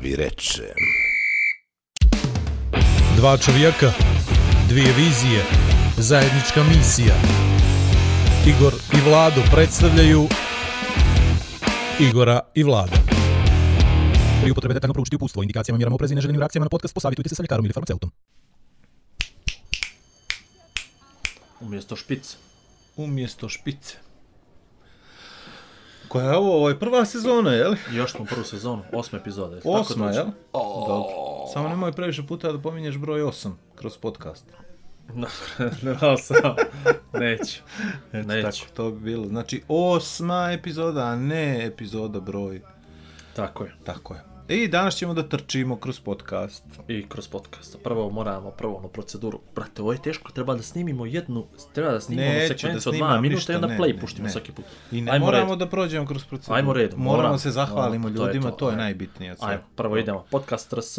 vi reče. Dva čovjeka, dvije vizije, zajednička misija. Igor i Vladu predstavljaju Igora i Vlada. Pri upotrebe detaljno proučiti upustvo, indikacijama, mjerama oprezi i neželjenim reakcijama na podcast, posavitujte se sa ljekarom ili farmaceutom. Umjesto špice. umjesto špice. Koja je ovo, ovo je prva sezona, jel? Još smo prvu sezonu, osma epizoda. je li tako Osma, točno? jel? Dobro. Samo nemoj previše puta da pominješ broj 8 kroz podcast. No, ne dao sam. Neću. Eto, Neću. Tako, to bi bilo. Znači, osma epizoda, a ne epizoda broj. Tako je. Tako je. I danas ćemo da trčimo kroz podcast. I kroz podcast. Prvo moramo, prvo onu proceduru. Brate, ovo je teško, treba da snimimo jednu, treba da snimimo Neću onu da sekvencu od snimam 2 minuta ništa, i onda ne, play ne, puštimo ne. svaki put. I ne Ajmo moramo redom. da prođemo kroz proceduru. Ajmo redom, Moramo, moramo. se zahvalimo Moramo, to je ljudima, to, to, je ajmo. najbitnije. od svega. Ajmo, prvo idemo. Podcast RS,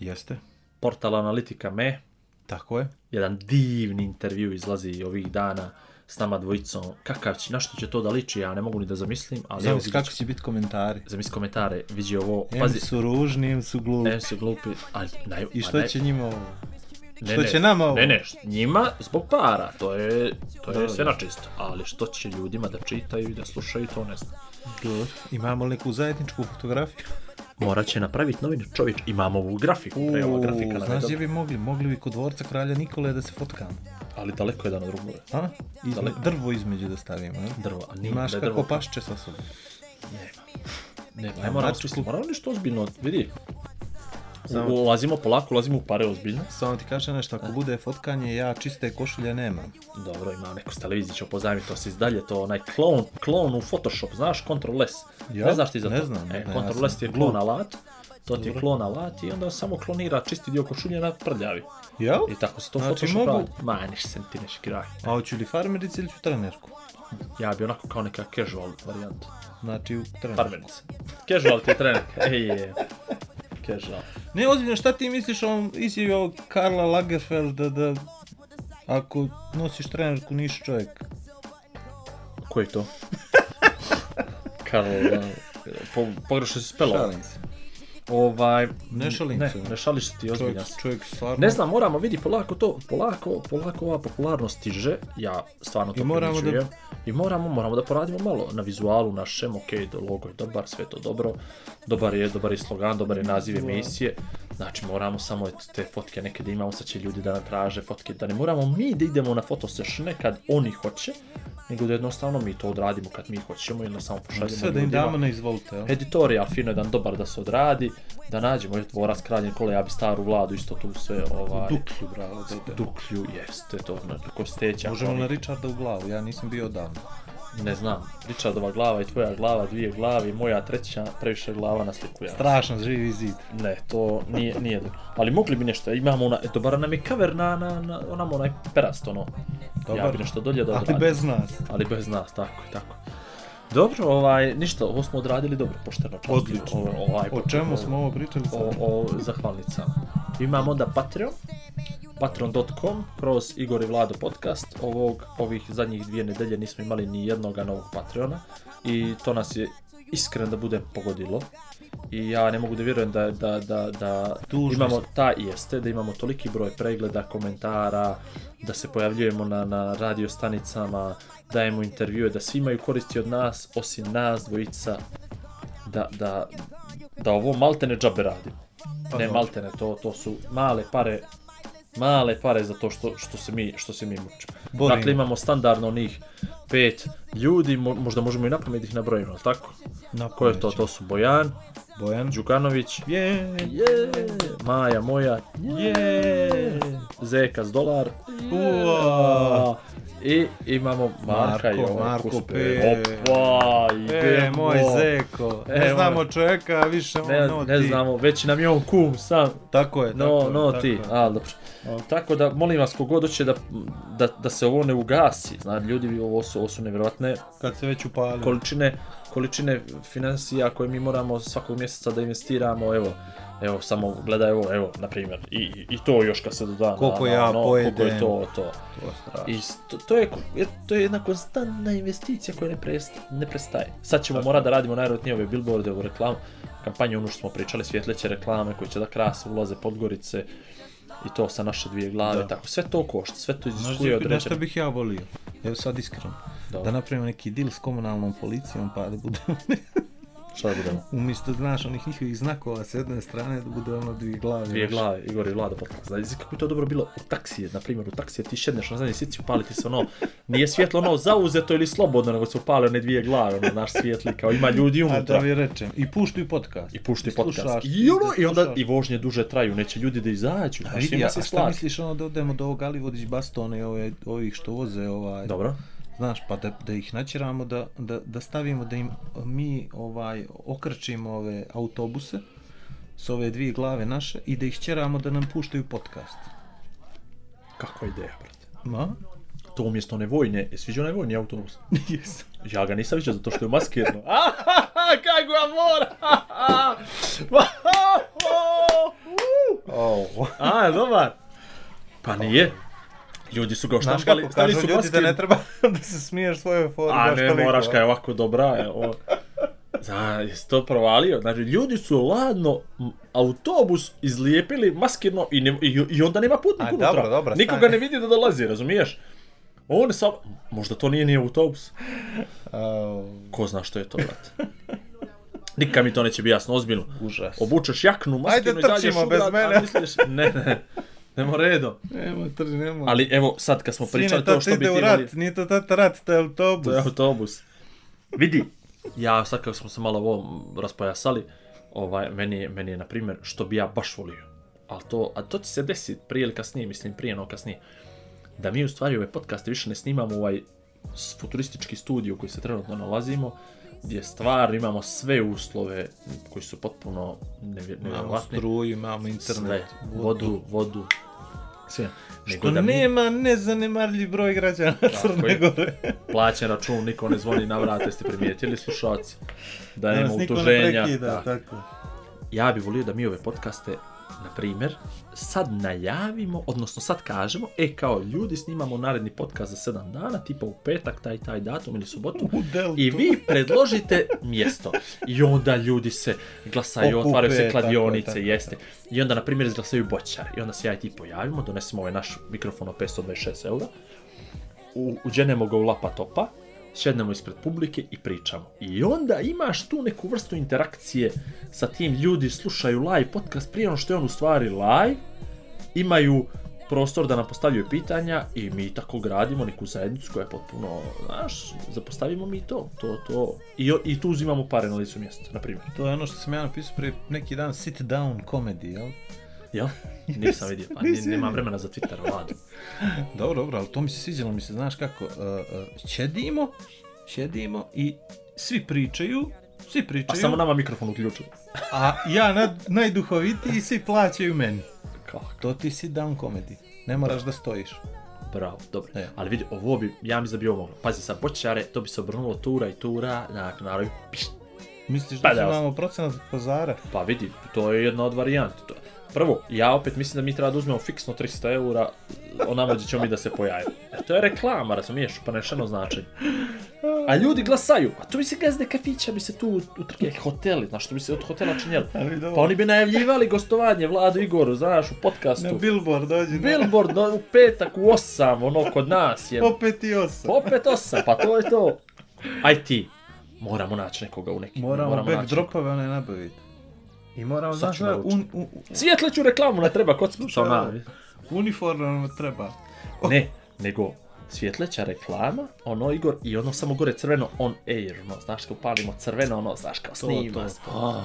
Jeste, portal analitika me, tako je. jedan divni intervju izlazi ovih dana s nama dvojicom. Kakav će, na što će to da liči, ja ne mogu ni da zamislim, ali evo Zamisli vidjet kako ću. će biti komentari. Zamisli komentare, vidi ovo, Em pazi, su ružni, em su glupi. ne su glupi, ali naj, I pa što naj- će njima ovo? Ne, Što ne, će nama ovo? Ne, ne, š- njima zbog para, to je, to je sve na čisto. Ali što će ljudima da čitaju i da slušaju, to ne znam. Imamo li neku zajedničku fotografiju? Morat će napraviti novine, čovječ, imamo ovu grafiku, pre ova grafika nam je Znaš gdje dobra. bi mogli? Mogli bi kod dvorca kralja Nikole da se fotkamo. ali daleko jedan od drugog. A? Izme- Daleko. drvo između da stavimo, jel? Drvo, a nije, Imaš da je kako drvo- pašće sa sobom. Ne, ne moramo znači, smisliti, moramo nešto ozbiljno, vidi. U- Samo- Ulazimo polako, ulazimo u pare ozbiljno. Samo ti kažem nešto, ako bude fotkanje, ja čiste košulje nemam. Dobro, imam neku s televiziji, ću pozajmiti, to se izdalje, to onaj klon, klon u Photoshop, znaš, Ctrl S. Ja? Ne znaš ti za to? Ne znam, e, ne, ja Ctrl sam S ti je klon alat, to ti je klon alat i onda samo klonira čisti dio košulje na prljavi. Jel? I tako se to Znači, Photoshop mogu- radi. Ma, neš se ti neš kiraj. A hoću li farmerice ili ću trenerku? Ja bi onako kao neka casual varijanta. Znači u trenerku. Farmerice. Casual ti je trener. Ej, je. Casual. Ne, ozbiljno, šta ti misliš o ovom izjavi ovog Karla Lagerfelda da... Ako nosiš trenerku, nisi čovjek. Ko je to? Karl, e, po, pogrešno si spelo. se. Ovaj, Ne šalim ne, se. ne šališ se ti, Čovjek, ozbiljan si. čovjek stvarno... Ne znam, moramo vidi polako to, polako, polako ova popularnost stiže, ja stvarno to I moramo da- primjećujem. I moramo, moramo da poradimo malo na vizualu našem, ok, do- logo je dobar, sve je to dobro, dobar je, dobar je slogan, dobar je naziv emisije, znači moramo samo eto, te fotke neke da imamo, sad će ljudi da nam traže fotke, da ne moramo mi da idemo na fotosešne kad oni hoće, nego da jednostavno mi to odradimo kad mi hoćemo, jednostavno pošaljemo Sve da im ljudima damo na izvolite, jel? editorijal fino jedan dobar da se odradi, da nađemo još dvorac kraljen kole, ja bi staru vladu isto tu sve ovaj... Duklju, bravo, dobro. Duklju, jeste to, ono, na kosteća, Možemo oni- na Richarda u glavu, ja nisam bio odavno. ne znam, Richardova glava i tvoja glava, dvije glavi, moja treća, previše glava na sliku ja. Strašno živi zid. Ne, to nije, nije dobro. Ali mogli bi nešto, imamo ona, e, dobar nam je cover na, na, na onamo onaj perast, ono. Ja Dobar. bi nešto dolje da Ali odradim. bez nas. ali bez nas, tako je, tako. je. Dobro, ovaj, ništa, ovo smo odradili dobro, pošteno. časno. Odlično. Ovo- ovaj, O čemu smo ovo pričali sad? o, o zahvalnicama. Imamo onda Patreon, patreon.com, kroz Igor i Vlado podcast. Ovog, ovih zadnjih dvije nedelje nismo imali ni jednoga novog Patreona i to nas je iskren da budem pogodilo. I ja ne mogu da vjerujem da, da, da, da Dužni imamo ta jeste, da imamo toliki broj pregleda, komentara, da se pojavljujemo na, na radio stanicama, dajemo intervjue, da svi imaju koristi od nas, osim nas dvojica, da, da, da ovo maltene džabe radimo. ne Pa dobro. maltene, to, to su male pare male pare za to što, što se mi što se mi mučimo. Borimo. Dakle imamo standardno onih pet ljudi, mo- možda možemo i na pamet ih nabrojimo, jel tako? Na Ko je to? To su Bojan, Bojan Đukanović, Je, je, Maja moja, je, Zeka s dolar, je. Ua. i imamo Marka i Marko, ovaj Marko kuspe. P. Opa, E, idemo. moj zeko. E, Ne znamo čovjeka, a više Ne, ono ne ti. znamo, već nam je on kum sam, Tako je, no, Dakle, tako je, no tako ti, je. a dobro. Tako da, molim vas, kogod hoće da, da, da se ovo ne ugasi, znači ljudi, ovo su, ovo su nevjerojatne Kad se već upali. količine, količine financija koje mi moramo svakog mjeseca da investiramo, evo, evo, samo gledaj ovo, evo, na primjer, i, i- i to još kad se doda na- Koliko na ja ono, koliko je pojedem. to, to. To je strašno. I s- to, to je, to je jedna konstantna investicija koja ne, prest, ne prestaje. Sad ćemo morati da radimo najvjerojatnije ove billboarde, ovu reklamu, kampanje, ono što smo pričali, svjetleće reklame koje će da krase, ulaze Podgorice i to sa naše dvije glave, Da. tako, sve to košta, sve to Znaš iziskuje da, određene... što bih ja volio? Evo sad iskreno. Dobro. Da napravimo neki deal s komunalnom policijom pa da bude Šta da budemo? umjesto znaš onih njihovih znakova s jedne strane da bude ono dvije glave. Dvije znaš. glave, Igor i Vlada podcast. Znači, kako je to dobro bilo u taksije, na primjer, u taksije ti šedneš na zadnji sici, upali ti se ono, nije svjetlo ono zauzeto ili slobodno, nego se upale one dvije glave, ono, naš svijetli, kao ima ljudi A da unutra. mi rečem, i puštaju podcast. I pušti podcast. Slušaš, I, ono, da I onda slušaš. i vožnje duže traju, neće ljudi da izađu. A Znači, vidi, ima a se šta stvar. misliš ono da odemo do ovog Alivodić Bastone i ove, ovih što voze ovaj, Dobro. znaš, pa da, da ih naćeramo, da, da, da stavimo da im mi ovaj okrčimo ove autobuse s ove dvije glave naše i da ih ćeramo da nam puštaju podcast. Kakva ideja, brate. Ma? To umjesto one vojne, jesi vidio onaj vojni autobus? Jesam. Ja ga nisam vidio zato što je maskirno. Ahaha, kako ja moram! Oh. A, dobar. Pa nije. Ljudi su ga Znaš oštampali, kako stali kažu su ljudi maske. da ne treba da se smiješ svoje fore. A baš ne, toliko. moraš kad je ovako dobra. je, Ovo. Za, jesi to provalio? Znači, ljudi su ladno m, autobus izlijepili maskirno i, ne, i, i onda nema putnika A, unutra. dobro, dobro, Nikoga stani. ne vidi da dolazi, razumiješ? On sam, možda to nije ni autobus. Au, Ko zna što je to, brate. Nikad mi to neće biti jasno, ozbiljno. užas. Obučeš jaknu, maskinu Ajde, i dađeš trčimo u bez grad, a mene. misliš, ne, ne, nemo redom. Nemo, trži, nemo. Ali evo, sad kad smo pričali to što bi ti ide u imali... rat, nije to tata rat, to je autobus. To je autobus. Vidi. Ja sad kako smo se malo ovo raspojasali, ovaj, meni, je- meni je na primjer što bi ja baš volio. Ali to, a to će se desiti prije ili kasnije, mislim prije no kasnije. Da mi u stvari ove podcaste više ne snimamo u ovaj s- futuristički studio koji se trenutno nalazimo, gdje stvarno imamo sve uslove koji su potpuno nevje- Imamo nevjerovatni. struju, imamo Sve, internet, vodu, vodu, sve. Što nema nezanemarljiv broj građana Crne je. Gore. plaćen račun, niko ne zvoni na vrat, jeste primijetili slušalci, da nema Nas niko ne utuženja. prekida, da. tako. Ja bi volio da mi ove podcaste, na primjer, sad najavimo, odnosno sad kažemo, e kao ljudi snimamo naredni podcast za 7 dana, tipa u petak, taj, taj datum ili subotu, U Deltu. i vi predložite mjesto. I onda ljudi se glasaju, Okupe, otvaraju se tako je, kladionice, tako je, jeste. I onda, na primjer, izglasaju boćare. I onda se ja i ti pojavimo, donesemo ovaj naš mikrofon od 526 eura, u- uđenemo ga u lapa topa, šednemo ispred publike i pričamo. I onda imaš tu neku vrstu interakcije sa tim ljudi slušaju live podcast prije ono što je on u stvari live, imaju prostor da nam postavljaju pitanja i mi tako gradimo neku zajednicu koja je potpuno, znaš, zapostavimo mi to, to, to. I, o- i tu uzimamo pare na licu mjesta, na primjer. To je ono što sam ja napisao prije neki dan, sit down comedy, jel? Jel? Nisam vidio, pa Nisi ni- nema vidio. vremena za Twitter, vladu. Dobro, dobro, ali to mi se sviđalo, mi se, znaš kako, uh, uh, ćedimo, ćedimo i svi pričaju, svi A pričaju, Pa samo nama mikrofon uključio. a ja na, najduhovitiji svi plaćaju meni. Kako? To ti sit down comedy, ne moraš da stojiš. Bravo, dobro. E. Ali vidi, ovo bi, ja mislim da bi ovo moglo. Pazi, sa boćare, to bi se obrnulo tura i tura, na naravno, pišt, Misliš Pa da da, imamo procenat pazara? Pa vidi, to je jedna od varijanti. To- Prvo, ja opet mislim da mi treba da uzmemo fiksno 300 eura onamo gdje ćemo mi da se pojavimo. E, to je reklama, razumiješ, ponešeno značenje. A ljudi glasaju, a to bi se gazde kafića bi se tu utrke hoteli, znaš što bi se od hotela činjeli. Ali dobro. Pa oni bi najavljivali gostovanje Vladu Igoru, znaš, u Na podcastu. billboard dođi, na- Billboard no, u petak u osam, ono kod nas je. opet i osam. Opet osam, pa to je to. Aj ti, moramo naći nekoga u nekim. Moramo, naći backdropove one nabaviti. I moramo, Sad znaš, ću da, naručiti. un, un, Svjetleću reklamu ne treba, kod sam sam Evo. uniforma nam treba. Ne, nego svjetleća reklama, ono Igor, i ono samo gore crveno on air, ono, znaš kao palimo crveno, ono, znaš kao To, snima. to, se. A?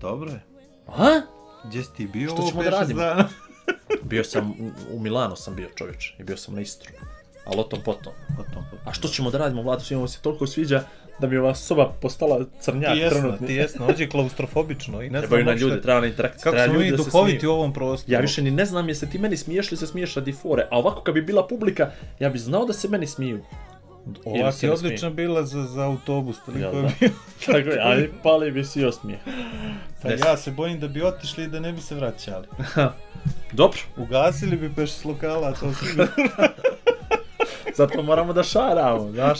Dobro je. A? Gdje si ti bio Što ovo ćemo da pet, šest radimo? dana? Bio sam, u, u Milano sam bio čovječ, i bio sam na Istru. Ali o tom potom. Potom, potom. A što ćemo da radimo, Vlado, svima ovo se toliko sviđa da mi je ova soba postala crnjak Tijesno, trenutni. tijesno, ovdje je klaustrofobično i ne Trebaju znam na uopšte ljude, treba na interakciju, Kako treba smo ljudi mi da se duhoviti smiju. u ovom prostoru? Ja više ni ne znam jesi ti meni smiješ ili se smiješ radi fore, a ovako kad bi bila publika, ja bi znao da se meni smiju. Ova Ili se ti je ne smije. odlična bila za, za autobus, toliko Jel je da? bio. Tako je, ali pali bi svi osmijeh. Pa ja se bojim da bi otišli i da ne bi se vraćali. Dobro, Ugasili bi peš s lokala, to sigurno. zato moramo da šaramo, znaš.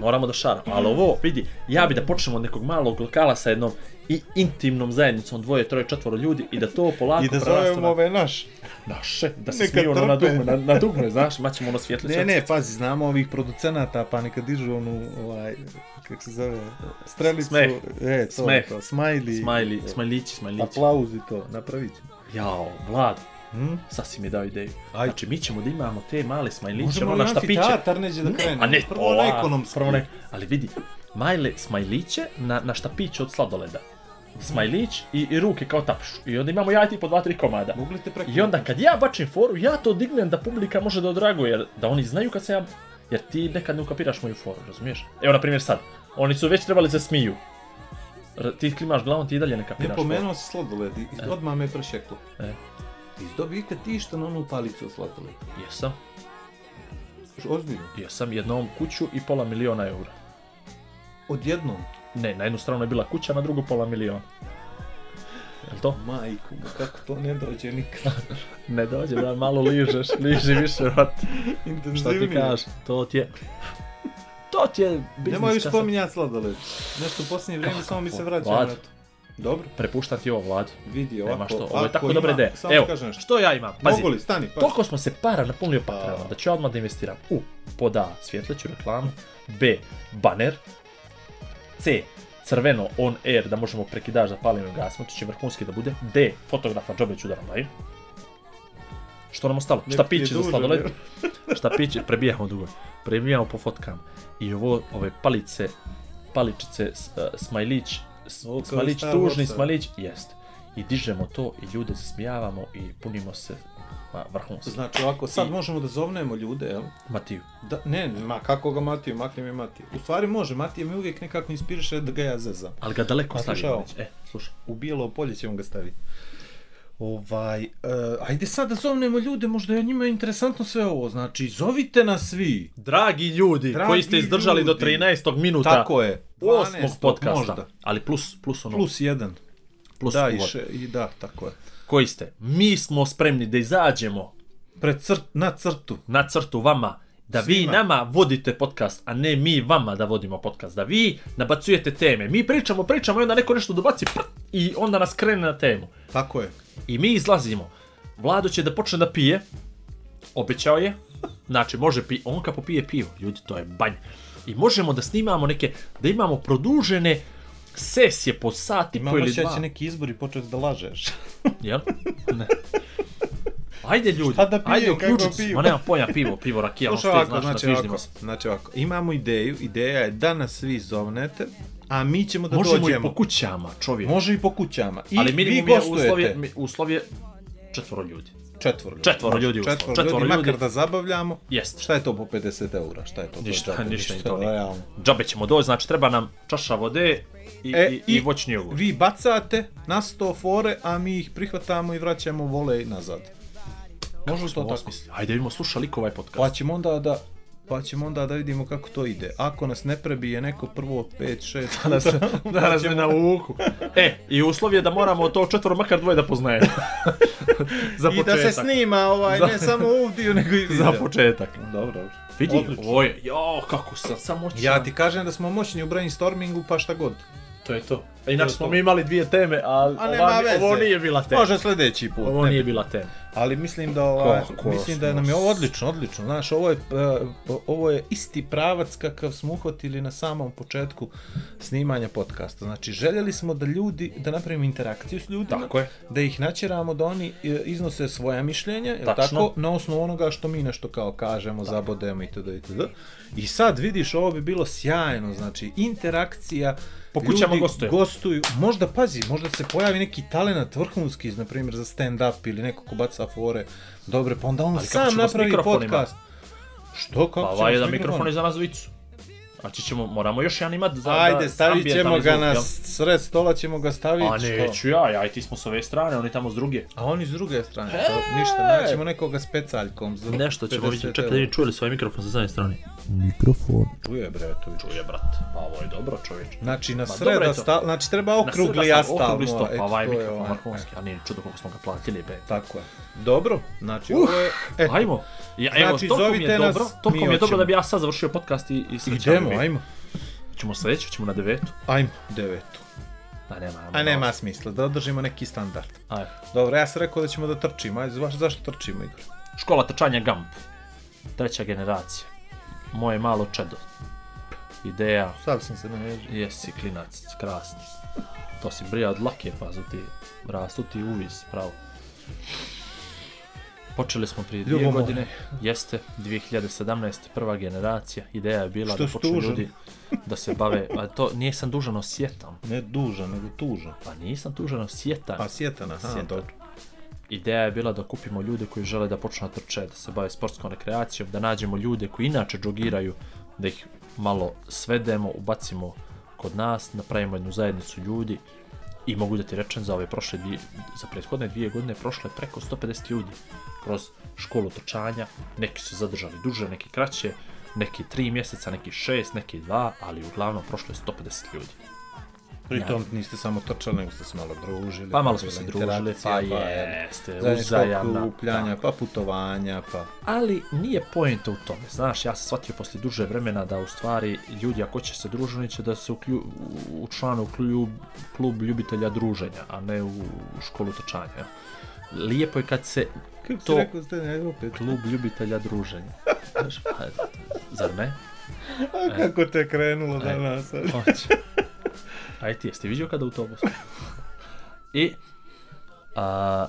moramo da šaramo. Ali ovo, vidi, ja bi da počnemo od nekog malog lokala sa jednom i intimnom zajednicom dvoje, troje, četvoro ljudi i da to polako I da preraste zovemo na- ove naš. Naše, da se Neka smiju ono na trpe. dugme, na, na dugme, znaš, maćemo ono svjetle Ne, ne, pazi, znamo ovih producenata, pa neka dižu onu, ovaj, kako se zove, strelicu. Smeh. E, to, Smeh. to, smajli. Smajli, smajlići, smajlići. Aplauz i to, napravit ćemo. Jao, Vlad, Hm? sad si mi dao ideju. Aj. Znači, mi ćemo da imamo te male smajliće, Možemo ono li na štapiće. amfiteatar neđe da krenemo? A ne, prvo na ova, ekonomski. Prvo na, ali vidi, majle smajliće na, na štapiće od sladoleda. Smajlić i, i ruke kao tapšu. I onda imamo ja i ti po dva, tri komada. Mogli te preko. I onda kad ja bačim foru, ja to dignem da publika može da odraguje, jer da oni znaju kad se ja... Jer ti nekad ne ukapiraš moju foru, razumiješ? Evo, na primjer sad, oni su već trebali da se smiju. R- ti klimaš glavom, ti i dalje ne kapiraš Ne pomenuo si sladoled i i odmah me prešeklo. E. Ti dobio ikad ti što na onu palicu od sladoleda? foru. Jesam, Ozbiljno. jesam jednom kuću i pola miliona eura. Odjednom. Ne, na jednu stranu je bila kuća, na drugu pola miliona. Jel to? Majku mu, kako to ne dođe nikad. Ne dođe, da malo ližeš, liži više, vrat. Šta Intenzivnije. ti kažeš? To ti je... To ti je biznis Nemoj još kasa. spominjati sladoled. Nešto u posljednje vrijeme samo mi se vraća Vlad. na to. Dobro, Prepuštam ti ovo, Vlad. vidi ovako. Nema što, ovo je ako tako ima- dobra ideja. Samo Evo, kažem nešto. što ja imam? Pazi, Mogu li, stani, pa. toliko smo se para napunili patrava, A. da ću ja odmah da investiram u pod A, svjetleću reklamu, B, baner, C, crveno on air da možemo prekidaš da palimo i gasimo, to će vrhunski da bude, D, fotografa džobe ću da nam daju. Što nam ostalo? Nek Šta ti je piće za duže, sladoled? vjerujem. Šta piće? Prebijamo dugo. Prebijamo po fotkama. I ovo, ove palice, paličice, s- e, smajlić, s- Ovo kao smajlić Star tužni, Warsa. smajlić, jest. I dižemo to i ljude zasmijavamo i punimo se ma, vrhunski. Znači ovako, sad I- možemo da zovnemo ljude, jel? Matiju. Da, ne, ma kako ga Matiju, makni mi Matiju. U stvari može, Matija mi uvijek nekako inspiriše da ga ja zezam. Ali ga daleko A slušaj stavimo. ovo. već. E, slušaj. U bijelo polje ćemo ga staviti. Ovaj, e, ajde sad da zovnemo ljude, možda je njima interesantno sve ovo. Znači, zovite nas svi. Dragi ljudi Dragi koji ste izdržali do ljudi. 13. minuta Tako je. 8. 12. podcasta, Možda. ali plus, plus ono, Plus jedan. plus da, i, uvod. še, i da, tako je. koji ste, mi smo spremni da izađemo Pred crt, na crtu. na crtu vama, da vi Svima. nama vodite podcast, a ne mi vama da vodimo podcast, da vi nabacujete teme. Mi pričamo, pričamo i onda neko nešto dobaci prt, i onda nas krene na temu. Tako je. I mi izlazimo. Vlado će da počne da pije. Obećao je. Znači, može pi... On kad popije pivo, ljudi, to je banj. I možemo da snimamo neke, da imamo produžene sesije po sati, po Imam ili ošće da dva. će neki izbori početi da lažeš. Jel? Ne. Ajde ljudi, Šta da pijem, ajde kakvo uključite se. pivo? Ma nema pojma pivo, pivo rakija, ono Slušaj ste, ovako, znaš, znači nafiždimo ovako, se. znači ovako, imamo ideju, ideja je da nas svi zovnete, a mi ćemo da Možemo i dođemo. po kućama, čovjek. Može i po kućama. I ali vi minimum je gostujete. uslov je, mi- uslov je četvoro ljudi. Četvoro ljudi. Četvoro ljudi uslov. Četvoro, Četvoro ljudi, ljudi. makar da zabavljamo. Jeste. Šta je to po 50 eura? Šta je to? To je Ništa, džabe, ništa ni to nije. realno. Džabe ćemo doći, znači treba nam čaša vode i, E, i, i, i- voćni jogurt. Vi bacate na sto fore, a mi ih prihvatamo i vraćamo vole nazad. Može to Ovo tako? smisli. Ajde vidimo, slušali ko ovaj podcast. Pa ćemo onda da pa ćemo onda da vidimo kako to ide. Ako nas ne prebije neko prvo 5 6 da se, da se na uku. E, i uslov je da moramo to četvoro makar dvoje da poznajemo. za i da početak. se snima ovaj Za- ne samo audio nego i video. Za početak. Dobro, dobro. Vidi, Odlično. ovo je, jo, kako sam, samo ću. Ja ti kažem da smo moćni u brainstormingu pa šta god. To je to. E, inače To je smo to. mi imali dvije teme, ali A nema ova, veze. ovo nije bila tema. Može sljedeći put. Ovo ne nije bila tema. Ali mislim da ovaj, Kako mislim da smo nam je ovo odlično, odlično. Znaš, ovo je e, ovo je isti pravac kakav smo uhvatili na samom početku snimanja podcasta. Znači, željeli smo da ljudi da napravimo interakciju s ljudima, Tako je. da ih natjeramo da oni e, iznose svoja mišljenja, jel Tačno. tako, na osnovu onoga što mi nešto kao kažemo, zabodemo itd. itd. I sad vidiš, ovo bi bilo sjajno, znači interakcija Po kućama ljudi gostuju. gostuju. Možda, pazi, možda se pojavi neki talenat vrhunski, na primjer, za stand-up ili neko ko baca fore dobre, pa onda on Ali kako sam ćemo s napravi mikrofonima? podcast. Što, Pa kako ćemo ova s je da mikrofon mikrofonima? iza nas dvicu. Znači ćemo, moramo još jedan imat za... Ajde, da stavit ćemo ambijentalni ga zvuk, na jel? sred stola, ćemo ga staviti. A neću ja, ja i ti smo s ove strane, oni tamo s druge. A oni s druge strane, to, ništa, naćemo nekoga s pecaljkom. Za Nešto ćemo 50 vidjeti, čekaj eura. da vidim čuli svoj mikrofon sa zadnje strane. Čuje bre, to je Čuje, brat, pa ovo je dobro, čovječe. Znači na Ma, Pa dobro je sreda to. sta, znači treba Na okrugli sreda ja sam stalno. Okrugli sto, eto, pa ovaj to je mikrofon onaj, vrhunski. A nije ni čudo kako smo ga platili, be. e, Tako je. Dobro, Uh! znači ovo je eto. Ajmo. Ja, evo, Znači, toliko mi je zovite nas, dobro, toliko mi mi je dobro hoćemo. da bi ja sad završio podcast i, i srećan Idemo, mi. ajmo. Ćemo sledeću, ćemo na devetu. Ajmo, devetu. Da, nema, nema. A nema smisla, da održimo neki standard. Ajde. Dobro, ja sam rekao da ćemo da trčimo, ajde, zaš, zašto trčimo, Igor? Škola trčanja Gump. Treća generacija. Moje malo čedo. Ideja, Sad sam se naježio. jesi klinac, krasni. To si brija od lake, pa ti rastu ti uvis, pravo. Počeli smo prije dvije Ljubo moja. godine, jeste, 2017. prva generacija, ideja je bila Što da si počnu tužan? ljudi da se bave, a to nisam dužan osjetan, Ne dužan, nego tužan. pa nisam dužan osjetan. A sjetan, aha, Sjetan. dobro. Ideja je bila da kupimo ljude koji žele da počnu da trče, da se bave sportskom rekreacijom, da nađemo ljude koji inače džogiraju, da ih malo svedemo, ubacimo kod nas, napravimo jednu zajednicu ljudi i mogu da ti rečem za ove prošle dvije, za prethodne dvije godine prošle preko 150 ljudi kroz školu trčanja, neki su zadržali duže, neki kraće, neki 3 mjeseca, neki 6, neki 2, ali uglavnom prošlo je 150 ljudi. Pritom niste samo trčali, nego ste se malo družili. Pa malo smo bila se družili, interakcija, pa evo, jeste, Zajednička uzajamna. okupljanja, pa putovanja, pa... ali nije poenta u tome. Znaš, ja sam shvatio poslije duže vremena da u stvari ljudi ako će se družiti, oni će da se uklju, u članu klub, klub ljubitelja druženja, a ne u školu trčanja. Lijepo je kad se Kako To- si rekao, ste ne, opet? klub ljubitelja druženja. Znaš, pa, zar ne? A kako te je krenulo E. danas? sad? Hoće. Aj ti, jeste vidio kada autobus? I, a,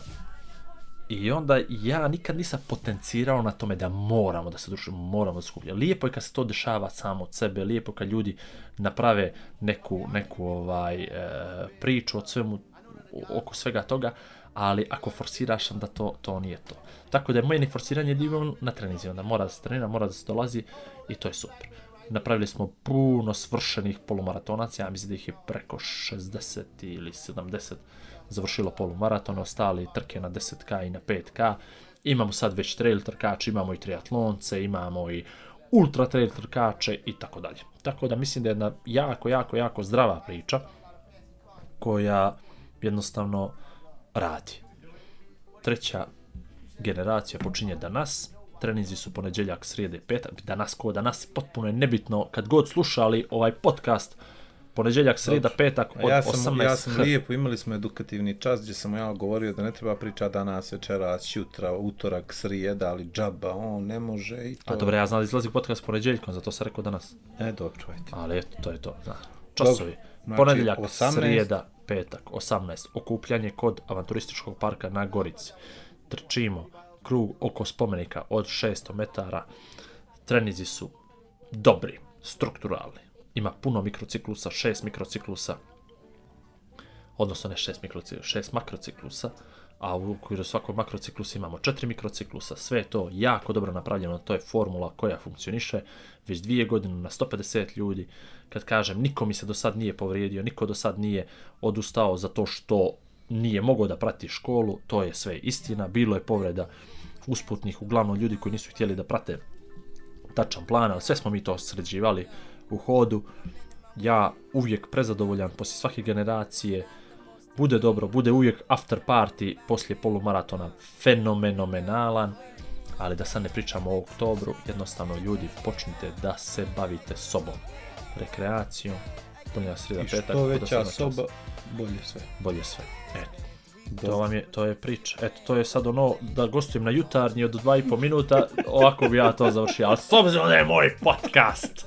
I onda ja nikad nisam potencirao na tome da moramo da se družimo, moramo da se skupljamo. Lijepo je kad se to dešava samo od sebe, lijepo je kad ljudi naprave neku, neku ovaj, e, priču o svemu, o- oko svega toga, ali ako forsiraš onda to, to nije to. Tako da je meni forsiranje divno na trenizi, onda mora da se trenira, mora da se dolazi i to je super. Napravili smo puno svršenih polumaratonaca, ja mislim da ih je preko 60 ili 70 završilo polumaraton, ostali trke na 10k i na 5k. Imamo sad već trail trkače, imamo i triatlonce, imamo i ultra trail trkače i tako dalje. Tako da mislim da je jedna jako, jako, jako zdrava priča koja jednostavno radi. Treća generacija počinje danas, treninzi su poneđeljak, srijede i petak, danas ko danas, potpuno je nebitno, kad god slušali ovaj podcast, poneđeljak, srijeda, petak A od ja sam, 18 ja sam h. lijepo, imali smo edukativni čas gdje sam ja govorio da ne treba priča danas, večeras, jutra, utorak, srijeda, ali džaba, on ne može i to. A dobro, ja znam da izlazi podcast poneđeljkom, zato sam rekao danas. E, dobro, ajde. Ali eto, to je to. Da. Časovi. Znači, Ponedeljak, 18. srijeda, petak, 18. Okupljanje kod avanturističkog parka na Gorici. Trčimo krug oko spomenika od 600 metara. Trenizi su dobri, strukturalni. Ima puno mikrociklusa, šest mikrociklusa, odnosno ne šest mikrociklusa, šest makrociklusa, a u okviru svakog makrociklusa imamo četiri mikrociklusa, sve je to jako dobro napravljeno, to je formula koja funkcioniše već dvije godine na 150 ljudi, kad kažem niko mi se do sad nije povrijedio, niko do sad nije odustao zato što nije mogao da prati školu, to je sve istina, bilo je povreda usputnih, uglavnom ljudi koji nisu htjeli da prate tačan plan, ali sve smo mi to sređivali u hodu. Ja uvijek prezadovoljan poslije svake generacije, bude dobro, bude uvijek after party poslije polumaratona fenomenomenalan, ali da sad ne pričamo o oktobru, jednostavno ljudi počnite da se bavite sobom, rekreacijom, punja sreda I petak, što poda veća sedma čast soba, bolje sve. bolje sve. Eto. E, To vam je, to je priča. Eto, to je sad ono da gostujem na jutarnji od dva i po minuta, ovako bi ja to završio. Ali s obzirom da je moj podcast,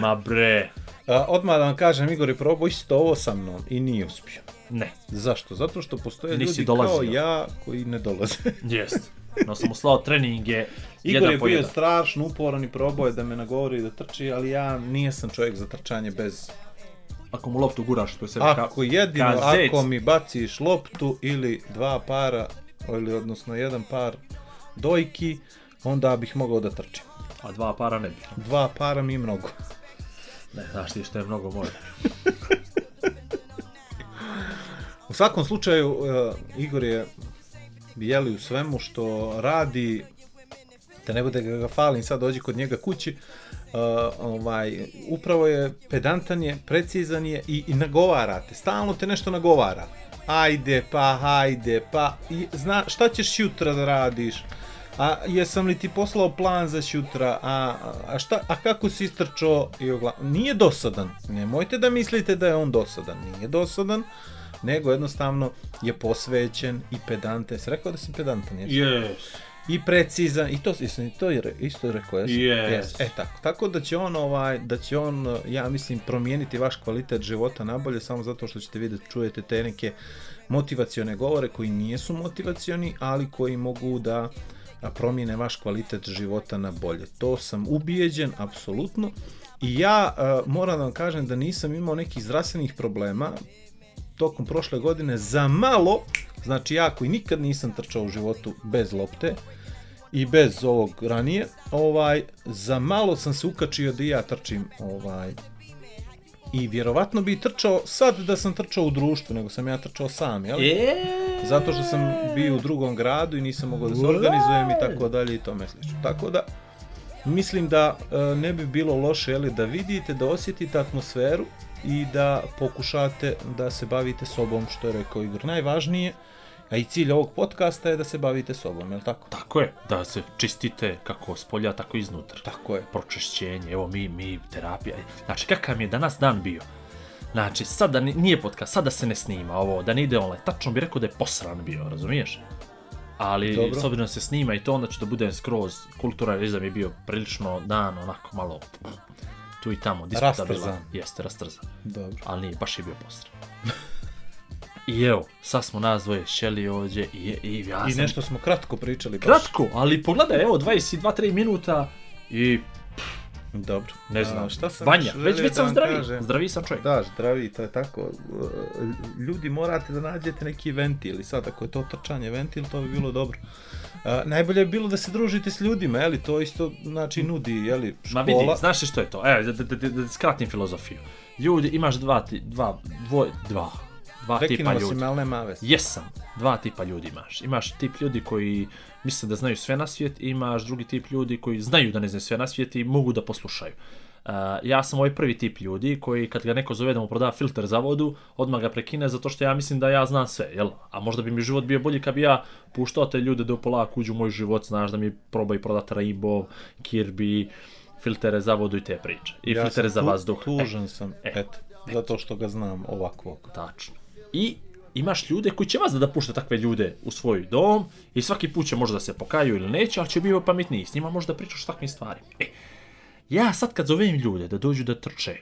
ma bre, A, odmah da vam kažem, Igor je probao isto ovo sa mnom i nije uspio. ne, Zašto? Zato što postoje Nisi ljudi kao dolazio. ja koji ne dolaze. jest. No sam mu slao treninge, Igor jedan je po bio jedan. strašno uporan i probao je da me nagovori da trči, ali ja nijesam čovjek za trčanje bez... Ako mu loptu guraš, to je sebe Ako jedino, ka zec. ako mi baciš loptu ili dva para, ili odnosno jedan par dojki, onda bih mogao da trčim. A dva para ne bi. Dva para mi je mnogo. Ne, znaš ti što je mnogo može. U svakom slučaju, e, Igor je bijeli u svemu što radi, da ne bude da ga falim, sad dođi kod njega kući, e, ovaj, upravo je pedantan je, precizan je i, i nagovara te, stalno te nešto nagovara. Ajde, pa, hajde, pa, i, zna, šta ćeš jutra da radiš? a jesam li ti poslao plan za šutra, a, a, šta, a kako si istrčao i ogla... Nije dosadan, nemojte da mislite da je on dosadan, nije dosadan, nego jednostavno je posvećen i pedantan, jesi rekao da si pedantan, jesi? Yes. i precizan i to jesam i to je re- isto rekao jesam. Yes. E tako, tako da će on ovaj da će on eh, ja mislim promijeniti vaš kvalitet života nabolje samo zato što ćete vidjeti čujete te neke motivacione govore koji nisu motivacioni, ali koji mogu da da promijene vaš kvalitet života na bolje. To sam ubijeđen apsolutno. I ja eh, moram da vam kažem da nisam imao nekih zdravstvenih problema, tokom prošle godine za malo, znači ja koji nikad nisam trčao u životu bez lopte i bez ovog ranije, ovaj za malo sam se ukačio da i ja trčim ovaj i vjerovatno bi trčao sad da sam trčao u društvu, nego sam ja trčao sam, E, jel? Zato što sam bio u drugom gradu i nisam mogao da se organizujem i tako dalje i tome slično. Tako da, mislim da e, ne bi bilo loše jeli, da vidite, da osjetite atmosferu i da pokušate da se bavite sobom, što je rekao Igor. Najvažnije, a i cilj ovog podcasta je da se bavite sobom, jel tako? Tako je, da se čistite kako s polja, tako i iznutra. Tako je. Pročišćenje, evo mi, mi, terapija. Znači, kakav mi je danas dan bio? Znači, sada nije podcast, sada se ne snima ovo, da ne ide online. Tačno bi rekao da je posran bio, razumiješ? Ali, Dobro. s obzirom da se snima i to, onda će da bude skroz kulturalizam je bio prilično dan, onako malo tu i tamo, disputabilan. Rastrzan. Jeste, rastrzan Dobro. ali nije, baš je bio postran. I evo, sad smo nas dvoje šeli ovdje i, i ja I sam... nešto smo kratko pričali. baš. Kratko, ali pogledaj, evo, 22-3 minuta i Dobro. ne znam, A, šta sam Vanja, još već, želio već da sam vam zdraviji, kažem? zdraviji sam čovjek. Da, zdravi, to je tako. E, Ljudi morate da nađete neki ventil i sad ako je to trčanje ventil, to bi bilo dobro. A, najbolje je bilo da se družite s ljudima, jeli, to isto znači nudi, jeli, Ma škola. vidi, znaš li što je to? Evo, da, da, da, da skratim filozofiju. Ljudi, imaš dva, ti, dva, dvoj, dva, dva tipa Prekinuo si ljudi. me, ali nema veze. Jesam, dva tipa ljudi imaš. Imaš tip ljudi koji misle da znaju sve na svijet, i imaš drugi tip ljudi koji znaju da ne znaju sve na svijet i mogu da poslušaju. Uh, ja sam ovaj prvi tip ljudi koji kad ga neko zove da mu proda filter za vodu, odmah ga prekine zato što ja mislim da ja znam sve, jel? A možda bi mi život bio bolji kad bi ja puštao te ljude da polako uđu u moj život, znaš da mi probaju prodati Rainbow, Kirby, filtere za vodu i te priče. I Ja filtere sam za tu- vazduh. E, Tužan sam, e, eto, zato što ga znam ovakvog. Tačno. I imaš ljude koji će vas da pušte takve ljude u svoj dom i svaki put će možda da se pokaju ili neće, ali će bio pametniji. S njima možda pričaš o takvim stvarima. E, ja sad kad zovem ljude da dođu da trče,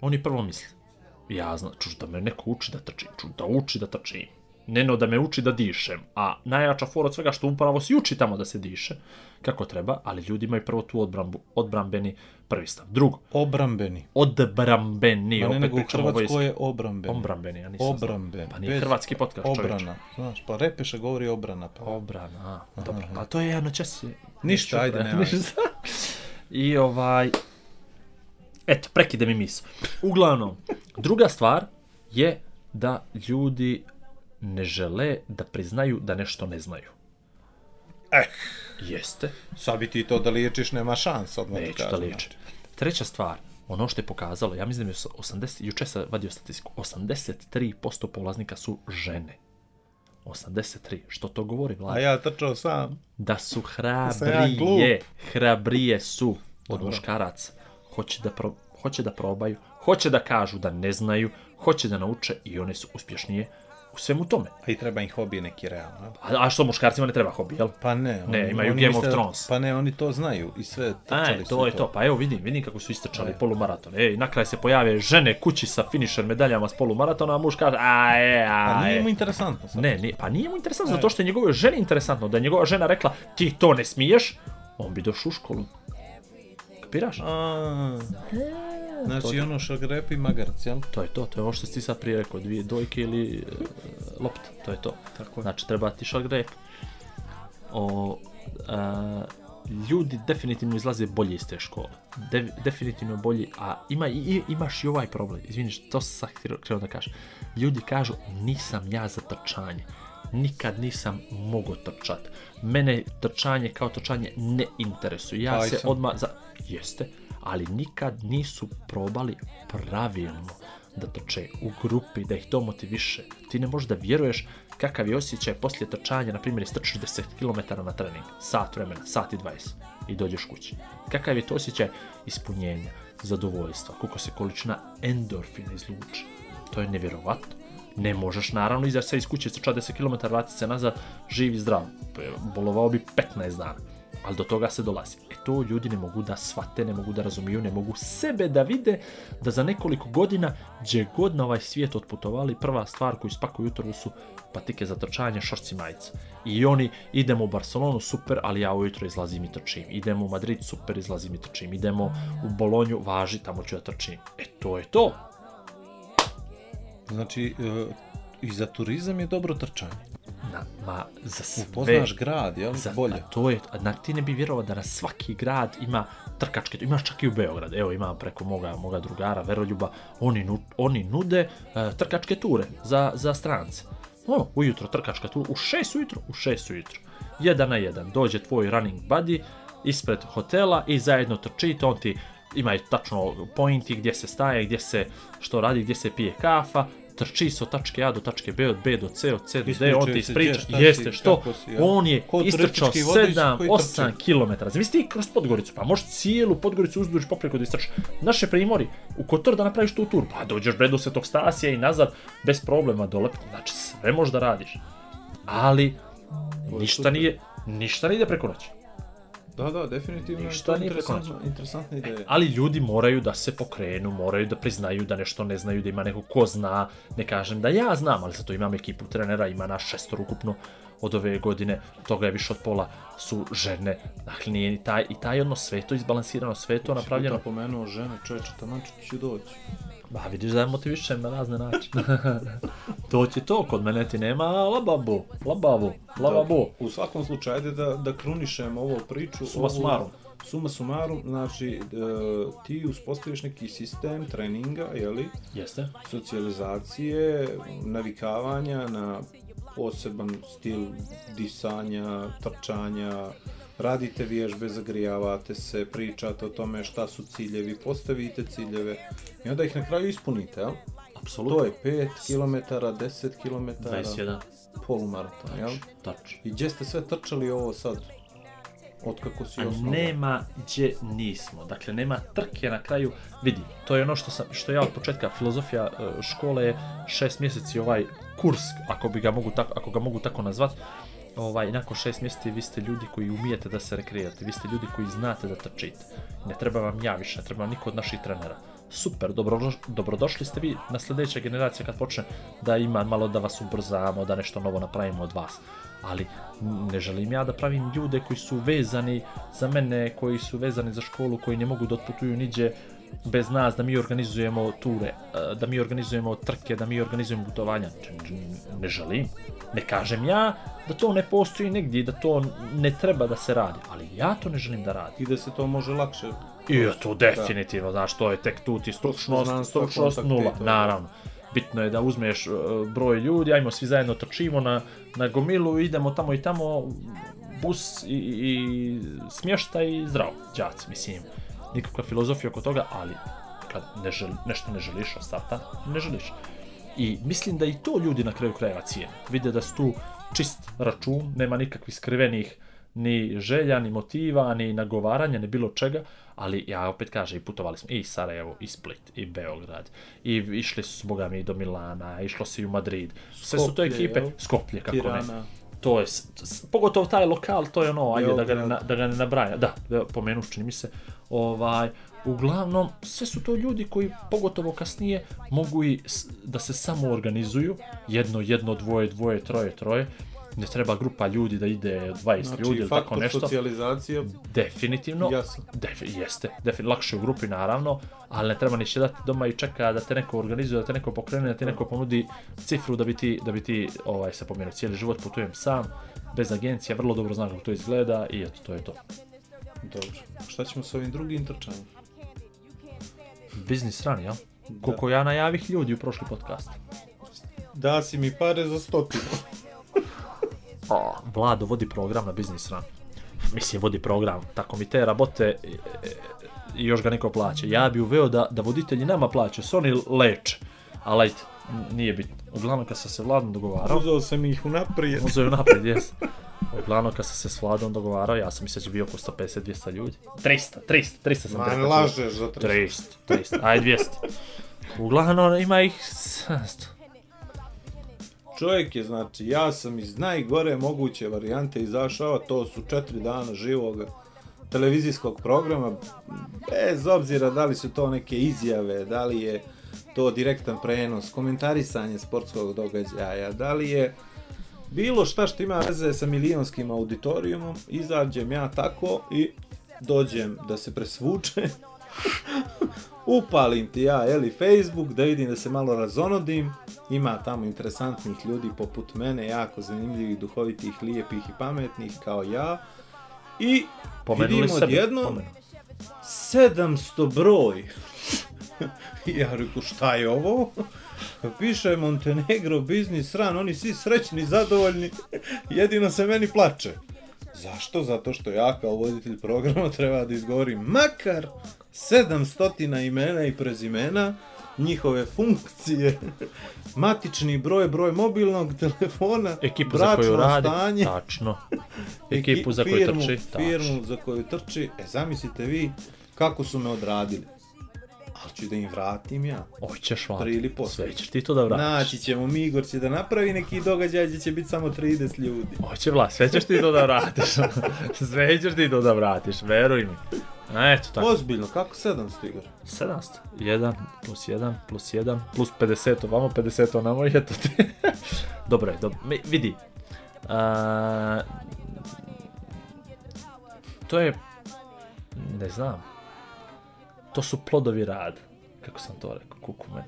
oni prvo misle, ja znam, čuš da me neko uči da trčim, čuš da uči da trčim. Neno da me uči da dišem, a najjača fora od svega što upravo se uči tamo da se diše, kako treba, ali ljudi imaju prvo tu odbrambu, odbrambeni prvi stav. Drugo, Obrambeni. odbrambeni, Pa ne, opet nego u pričamo o vojski. Hrvatskoj je obrambeni. Obrambeni, ja nisam znao. Obramben. Pa nije bez- hrvatski podcast, čovječe. Obrana, znaš, pa Repeša govori obrana, pa Obrana, a, dobro. Pa to je jedno čas je... Ništa, ajde, Čudno, nemaj. ništa. I ovaj... Eto, prekide mi misl. Uglavnom, druga stvar je da ljudi ne žele da priznaju da nešto ne znaju. Eh. Jeste, sad bi ti to da liječiš, nema šans, odmah ti neću da kažem, liječi. znači. Treća stvar, ono što je pokazalo, ja mislim da je 80, juče sam vadio statistiku, 83% polaznika su žene. 83, što to govori vlada? A ja trčao sam. da su sam ja hrabrije, glup. hrabrije su od muškaraca. Hoće da, pro, hoće da probaju, hoće da kažu da ne znaju, hoće da nauče i one su uspješnije u svemu tome. A i treba im hobi neki realno. A, a što muškarcima ne treba hobi, jel? Pa ne. Ne, imaju Game of misle da- Thrones. Pa ne, oni to znaju i E. sve A, trčali su E, to je to. Pa evo vidim, vidim kako su istrčali polumaraton. Ej, na kraj se pojave žene kući sa finisher medaljama s polumaratona, a muš kaže, a e, a, A Pa nije e. mu interesantno E. sad. Ne, nije, pa nije mu interesantno, zato što je njegovoj ženi interesantno. Da je njegova žena rekla, ti to ne smiješ, on bi došao u školu. Kapiraš? A, to znači je- ono što ga repi magarac, jel? To je to, to je ono što si ti sad prije rekao, dvije dojke ili e, lopta, to je to. Tako je. Znači treba ti šagrep. O, a, ljudi definitivno izlaze bolje iz te škole. De, definitivno bolji, a ima, i, i- imaš i ovaj problem. Izviniš, to sam sad htio- htio da kažem. Ljudi kažu, nisam ja za trčanje. Nikad nisam mogao trčat. Mene trčanje kao trčanje ne interesuje. Ja Taj se Pa sam. odmah za... Jeste, ali nikad nisu probali pravilno. da trče u grupi, da ih to motiviše. Ti ne možeš da vjeruješ kakav je osjećaj poslije trčanja, na primjer, istrčiš 10 km na trening, sat vremena, sat i 20 i dođeš kući. Kakav je to osjećaj ispunjenja, zadovoljstva, koliko se količina endorfina izluči. To je nevjerovatno. Ne možeš naravno izaći sad iz kuće, trča 10 km, vratiti se nazad, živ i zdrav. Bolovao bi 15 dana. Ali do toga se dolazi. E to ljudi ne mogu da shvate, ne mogu da razumiju, ne mogu sebe da vide da za nekoliko godina gdje god na ovaj svijet otputovali, prva stvar koju spakuju jutro su patike za trčanje, šorci majica. I oni, idemo u Barcelonu, super, ali ja ujutro izlazim i trčim. Idemo u Madrid, super, izlazim i trčim. Idemo u Bolonju, važi, tamo ću da trčim. E to je to. Znači, e, i za turizam je dobro trčanje. Na, ma, za sve. Upoznaš grad, jel? Za, Bolje. a to je, a na, ti ne bi vjerovao da na svaki grad ima trkačke, imaš čak i u Beograd, evo imam preko moga, moga drugara, Veroljuba, oni, nu, oni nude e, trkačke ture za, za strance. Ono, ujutro trkačka tura, u 6 ujutro, u 6 ujutro. Jedan na jedan, dođe tvoj running buddy ispred hotela i zajedno trčite, on ti ima i tačno pointi gdje se staje, gdje se što radi, gdje se pije kafa, trči se od tačke A do tačke B, od B do C, od C do D, on ti Ispričaju ispriča, se gdje, šta si, jeste što, kako si, ja. on je Ko istrčao turistički vodič koji 7, trči. 8 km. Zamisli ti kroz Podgoricu, pa možeš cijelu Podgoricu uzduž poprijeko da istrčiš. Naše primori, u Kotor da napraviš tu tur, pa dođeš bre do Svetog Stasija i nazad, bez problema dole, znači sve možeš da radiš. Ali, ništa super. nije, ništa ne ide preko noći. Da, da, definitivno. je Ništa to nije interesantna- prekonačno. E, Interesantna ideja. Ali ljudi moraju da se pokrenu, moraju da priznaju da nešto ne znaju, da ima neko ko zna, ne kažem da ja znam, ali zato imam ekipu trenera, ima nas šestor ukupno od ove godine, toga je više od pola su žene, dakle nije ni taj, i taj odnos sve je to izbalansirano, sve je to napravljeno, Puta pomenuo žene, čovječe, tamo ću doći. ba vidiš da je motivišem na razne načine, to ti je to, kod mene ti nema lababu, labavu, lababu, U svakom slučaju, ajde da, da krunišem ovu priču. Suma ovu- sumarum. Suma sumarum, znači, e, ti uspostaviš neki sistem treninga, jeli, jeste, socijalizacije, navikavanja na poseban stil disanja, trčanja, radite vježbe, zagrijavate se, pričate o tome šta su ciljevi, postavite ciljeve i onda ih na kraju ispunite, jel? To apsolutno, je 5 km, 10 km, 21, polumaraton, jel? tačno. I gdje ste sve trčali ovo sad? Otkako si A osnovan? Znači, ono, nema gdje nismo. Dakle, nema trke na kraju. Vidi, to je ono što, sam, što ja od početka filozofija e, škole je šest mjeseci ovaj kurs, ako, bi ga mogu tako, ako ga mogu tako nazvat, ovaj, nakon šest mjeseci vi ste ljudi koji umijete da se rekreirate, vi ste ljudi koji znate da trčite. Ne treba vam ja više, ne treba vam niko od naših trenera. Super, dobro, dobrodošli ste vi na sljedeća generacija kad počne da ima malo da vas ubrzamo, da nešto novo napravimo od vas. Ali ne želim ja da pravim ljude koji su vezani za mene, koji su vezani za školu, koji ne mogu da otputuju niđe bez nas, da mi organizujemo ture, eh, da mi organizujemo trke, da mi organizujemo putovanja. Č- č- Ne želim. Ne kažem ja da to ne postoji negdje i da to ne treba da se radi, ali ja to ne želim da radim. I da se to može lakše. I je to definitivno, znaš, to je tek tu ti stručnost, Poznanstva, stručnost kontakti, nula, to je. naravno. Bitno je da uzmeš e, broj ljudi, ajmo svi zajedno trčimo na, na gomilu, idemo tamo i tamo, bus i, i smještaj i zdravo, džaci, mislim, nikakva filozofija oko toga, ali kad ne žel, nešto ne želiš od starta, ne želiš. I mislim da i to ljudi na kraju krajeva cijene. Vide da su tu čist račun, nema nikakvih skrivenih ni želja, ni motiva, ni nagovaranja, ni bilo čega, ali ja opet kažem, i putovali smo i Sarajevo, i Split, i Beograd, i išli su, boga mi, do Milana, išlo se i u Madrid, sve su to Skoplje, ekipe, jel? Skoplje, kako ne, Tirana. to je, s- s- pogotovo taj lokal, to je ono, ajde da ga, ne, Beograd. na- da ga ne nabraja, da, da, pomenuš čini mi se, ovaj, uglavnom, sve su to ljudi koji pogotovo kasnije mogu i s- da se samo organizuju, jedno, jedno, dvoje, dvoje, troje, troje, ne treba grupa ljudi da ide 20 ljudi Znači, ili tako faktor nešto, socijalizacije, definitivno, jasan. Defi, jeste, defi, lakše u grupi naravno, ali ne treba ni sjedati doma i čeka da te neko organizuje, da te neko pokrene, da ti neko ponudi cifru da bi ti, da bi ti ovaj, se pomjerio cijeli život, putujem sam, bez agencija, vrlo dobro znam kako to izgleda i eto, to je to. Dobro. Šta ćemo s ovim drugim trčanjem? Biznis run, jel? Koliko ja najavih ljudi u prošli podcast. Da si mi pare za stotinu. A, Vlado vodi program na biznis run. Mislim, vodi program, tako mi te rabote e, e, i još ga neko plaća. Ja bi uveo da, da voditelji nama plaćaju, se oni leče. ali ajde, n- nije bitno. Uglavnom kad sam se vladno dogovarao, Uzeo sam ih unaprijed. uzeo je napred, jes. Uglavnom kad sam se s vladom dogovarao, ja sam mislio da će biti oko 150-200 ljudi. 300, 300, 300 sam Ma, rekao. lažeš za 300. 300, 300, aj 200. Uglavnom ima ih 700. Čovjek je, znači, ja sam iz najgore moguće varijante izašao, to su četiri dana živog televizijskog programa, bez obzira da li su to neke izjave, da li je to direktan prenos, komentarisanje sportskog događaja, da li je bilo šta što ima veze sa milionskim auditorijumom, izađem ja tako i dođem da se presvuče, upalim ti ja, eli, Facebook, da vidim da se malo razonodim, ima tamo interesantnih ljudi poput mene, jako zanimljivih, duhovitih, lijepih i pametnih kao ja, i Pomenuli vidim sebe, odjednom pomenuli. 700 broj. I ja reku, šta je ovo? Piše Montenegro, biznis, ran, oni svi srećni, zadovoljni, jedino se meni plače. Zašto? Zato što ja kao voditelj programa treba da izgovorim makar 700 imena i prezimena, njihove funkcije, matični broj, broj mobilnog telefona, Ekipu za bračno koju radi, stanje, tačno. Eki- Ekipu za koju firmu, trči, tačno. Firmu za koju trči, e zamislite vi kako su me odradili. Ali ću da im vratim ja. Hoćeš vam. Prije ili poslije. Sve ćeš ti to da vratiš. Naći ćemo mi, Igor će da napravi neki događaj gdje će biti samo 30 ljudi. Hoće vla, sve ćeš ti to da vratiš. sve ćeš ti to da vratiš, veruj mi. A eto tako. Ozbiljno, kako 700 Igor? 700. 1 plus 1 plus 1 plus 50 ovamo, 50 onamo i eto ti. dobro je, dobro. Mi- Vidi. A, to je... Ne znam. To su plodovi rada. Kako sam to rekao, kuku mene.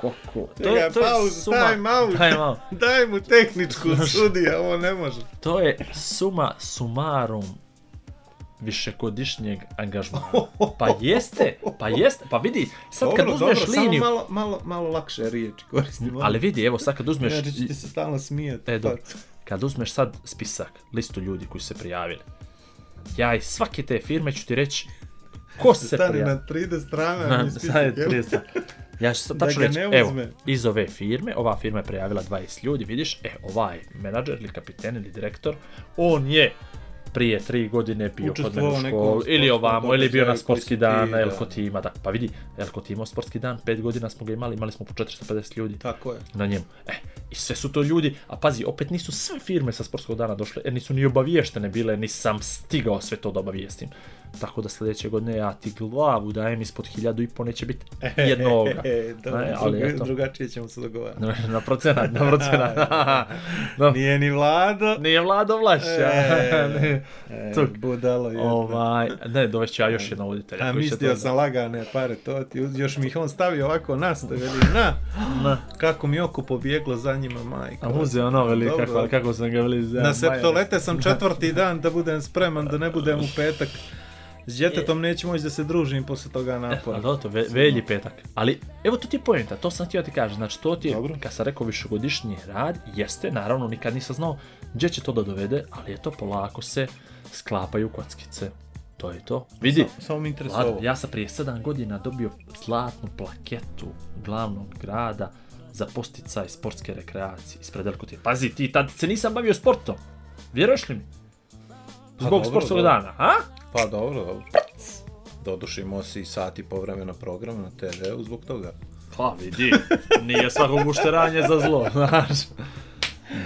Koliko? To, Čekaj, to je pauzu, suma... time out. Time out. Daj mu tehničku studiju, ovo ne može. To je suma sumarum višegodišnjeg angažmana. Pa jeste, pa jeste, pa vidi, sad kad uzmeš liniju, samo malo, malo, malo lakše riječi koristimo. ali vidi, evo sad kad uzmeš, Inače ćete se stalno smijati. Pa, E, dobro. kad uzmeš sad spisak, listu ljudi koji su se prijavili, ja iz svake te firme ću ti reći ko se Stani prijavio. na 30 strana, mi Na, spisak, sad je jel? 30. Ja ću sad Da tačno ga reći, ne evo, uzme. iz ove firme, ova firma je prijavila 20 ljudi, vidiš, e, ovaj menadžer ili kapiten ili direktor, on je prije tri godine bio kod mene u Učestvovao u nekom školu, ili sportskom ovamo, ili bio na događaju koji si sportski ti, dan, da. El Kotima, da, pa vidi, El Kotima sportski dan, pet godina smo ga imali, imali smo po 450 ljudi Tako je. na njemu. E, i sve su to ljudi, a pazi, opet nisu sve firme sa sportskog dana došle, jer nisu ni obaviještene bile, nisam stigao sve to da obavijestim. Tako da sljedeće godine ja ti glavu dajem ispod hiljadu i po, neće biti jednog. E, dobro, Ne, ali druga- eto. drugačije ćemo se dogovarati. na procenat, na procenat. no, nije, Nije ni vlada. nije vlado vlaša. E, Ne. E, Tuk. budalo je. ovaj, ne, dovešću ja još jednog voditelja. A koji će mislio to- sam lagane pare, to ti uz- još mi ih on stavio ovako na sto, veli, na, Na, kako mi oko pobjeglo za njima, majka. a muze ono, veli, Dobro. kako, kako sam ga veli za... Na septolete sam četvrti dan da budem spreman, da ne budem u petak. S djetetom neću moći da se družim posle toga E, Ali napora. dobro, to ve, velji petak. Ali, evo to ti je pojenta, to sam htio ti kažem. Znači, to ti je, Dobro. kad sam rekao, višegodišnji rad, jeste, naravno, nikad nisam znao gdje će to da dovede, ali eto, polako se sklapaju kockice. To je to. Vidi, Samo mi interesuje Vlado, ovo. ja sam prije 7 godina dobio zlatnu plaketu glavnog grada za posticaj sportske rekreacije ispred Elkutije. Pazi, ti tad se nisam bavio sportom. Vjeruješ li mi? Pa Zbog dobro, sportskog dobro. dana, a? Pa dobro, dobro. Doduše imao si i sati povremeno programa na TV-u zbog toga. Pa vidi, nije svako gušteranje za zlo, znaš.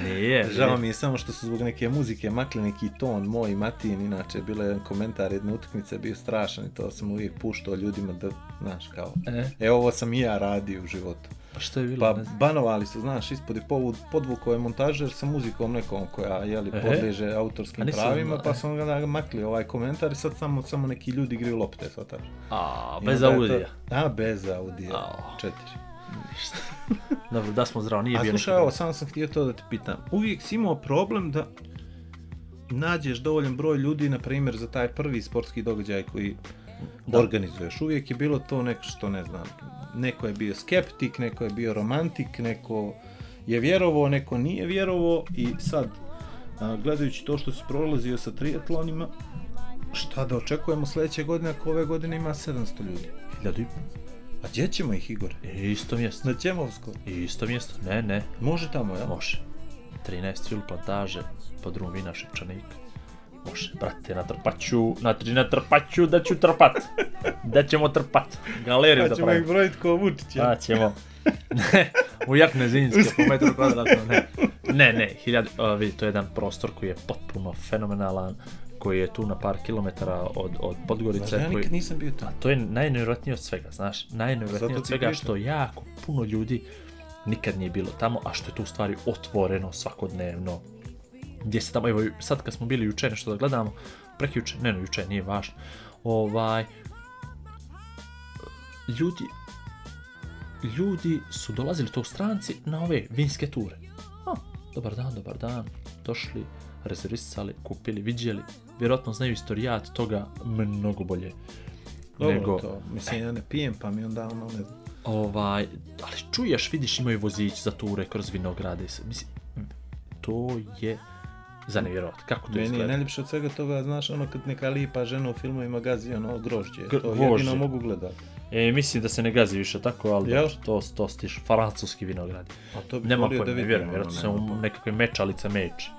Nije. Žao nije. mi je samo što su zbog neke muzike makli neki ton moj i Matin, inače je bilo jedan komentar jedne utakmice bio strašan i to sam uvijek puštao ljudima da, znaš kao, E, e ovo sam i ja radio u životu. što je bilo? Pa ne znam. banovali su, znaš, ispod i povud, podvukao je montažer sa muzikom nekom koja, jeli, Ehe. podliježe A autorskim nisam pravima, znao, pa e. su onda ga makli ovaj komentar i sad samo, samo neki ljudi igraju lopte, svataš. A, I bez onda je to- audija. A, bez audija, Ao. četiri. Ništa. Dobro, da smo zdravo, nije A bio slušaj, neki- ovo, samo sam htio to da te pitam. Uvijek si imao problem da nađeš dovoljan broj ljudi, na primjer, za taj prvi sportski događaj koji Da. organizuješ. Uvijek je bilo to neko što ne znam. Neko je bio skeptik, neko je bio romantik, neko je vjerovao, neko nije vjerovao i sad, a, gledajući to što si prolazio sa triatlonima, šta da očekujemo sljedeće godine ako ove godine ima 700 ljudi? Hiljadu i A gdje ćemo ih, Igore? Isto mjesto. Na Ćemovsko. Isto mjesto. Ne, ne. Može tamo, ja? Može. 13 fil plantaže, pod drumom vina Šipčanik. Može, brate, na trpaću, na, tri, na trpaću, da ću trpat. Da ćemo trpat. Galeriju Pa da ćemo ih pravimo. brojiti ko Vučića. Pa ćemo. Ne, u jakne zinjske, po metru kvadratno, ne. Ne, ne, hiljad, a, vidi, to je jedan prostor koji je potpuno fenomenalan, koji je tu na par kilometara od, od Podgorice. Znaš da ja koji- nikad nisam bio tamo. to je najnevjerojatnije od svega, znaš, najnevjerojatnije Zato od ti svega pričam. što jako puno ljudi nikad nije bilo tamo, a što je tu u stvari otvoreno svakodnevno. Gdje se tamo, evo sad kad smo bili juče nešto da gledamo, prekjuče, ne no juče, nije važno, ovaj, ljudi, ljudi su dolazili to stranci na ove vinske ture. A, dobar dan, dobar dan, došli, rezervisali, kupili, vidjeli, vjerojatno znaju istorijat toga mnogo bolje. Dobro nego- to. Mislim, ja ne pijem, pa mi onda ono ne znam. Ovaj, ali čuješ, vidiš imaju vozić za ture kroz vinograde. i sve. Mislim, to je za nevjerovat. Kako to Meni je izgleda? najljepše od svega toga, znaš, ono kad neka lipa žena u filmovima gazi ono grožđe. Gr- to gvožđe. jedino mogu gledati. E, mislim da se ne gazi više tako, ali Jel? dobro, to, to stiš. Francuski vinograd. A to bi Nema volio pojma, da da vidim. vjerujem, ono, vjerojatno se nema u nekakve mečalica meči.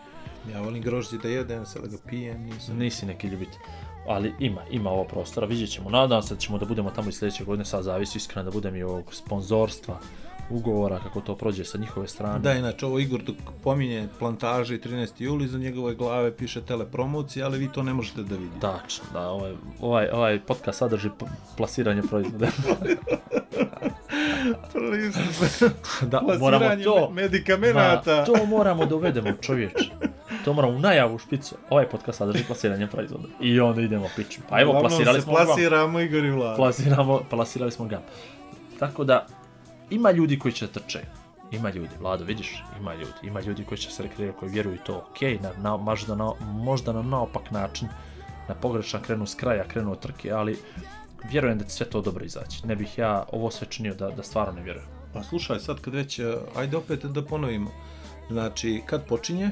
pojma. Ja volim grožđe da jedem, sad ga pijem, nisam. Nisi neki ljubitelj. Ali ima, ima ovo prostora, vidjet ćemo. Nadam se da ćemo da budemo tamo i sljedeće godine, sad zavisi iskreno da budem i ovog sponzorstva, ugovora, kako to prođe sa njihove strane. Da, inače, ovo Igor dok pominje plantaže i 13. juli, iza njegove glave piše telepromocija, ali vi to ne možete da vidite. Tačno, da, ovaj, ovaj, ovaj podcast sadrži p- plasiranje proizvoda. da, moramo Plasiranje to, me- medikamenata. Ma, to moramo da uvedemo čovječe. To moramo u najavu u špicu. Ovaj podcast sadrži plasiranje proizvoda. I onda idemo piću. Pa evo, Uglavnom plasirali se smo ga. plasiramo Igor i Vlada. Plasiramo, plasirali smo ga. Tako da, ima ljudi koji će da trče. Ima ljudi, Vlado, vidiš? Ima ljudi. Ima ljudi koji će se rekreirati, koji vjeruju u to. Ok, na, na, možda, na, možda na naopak način, na pogrešan krenu s kraja, krenu od trke, ali vjerujem da će sve to dobro izaći. Ne bih ja ovo sve činio da, da stvarno ne vjerujem. Pa slušaj, sad kad već, eh, ajde opet da ponovimo. Znači, kad počinje?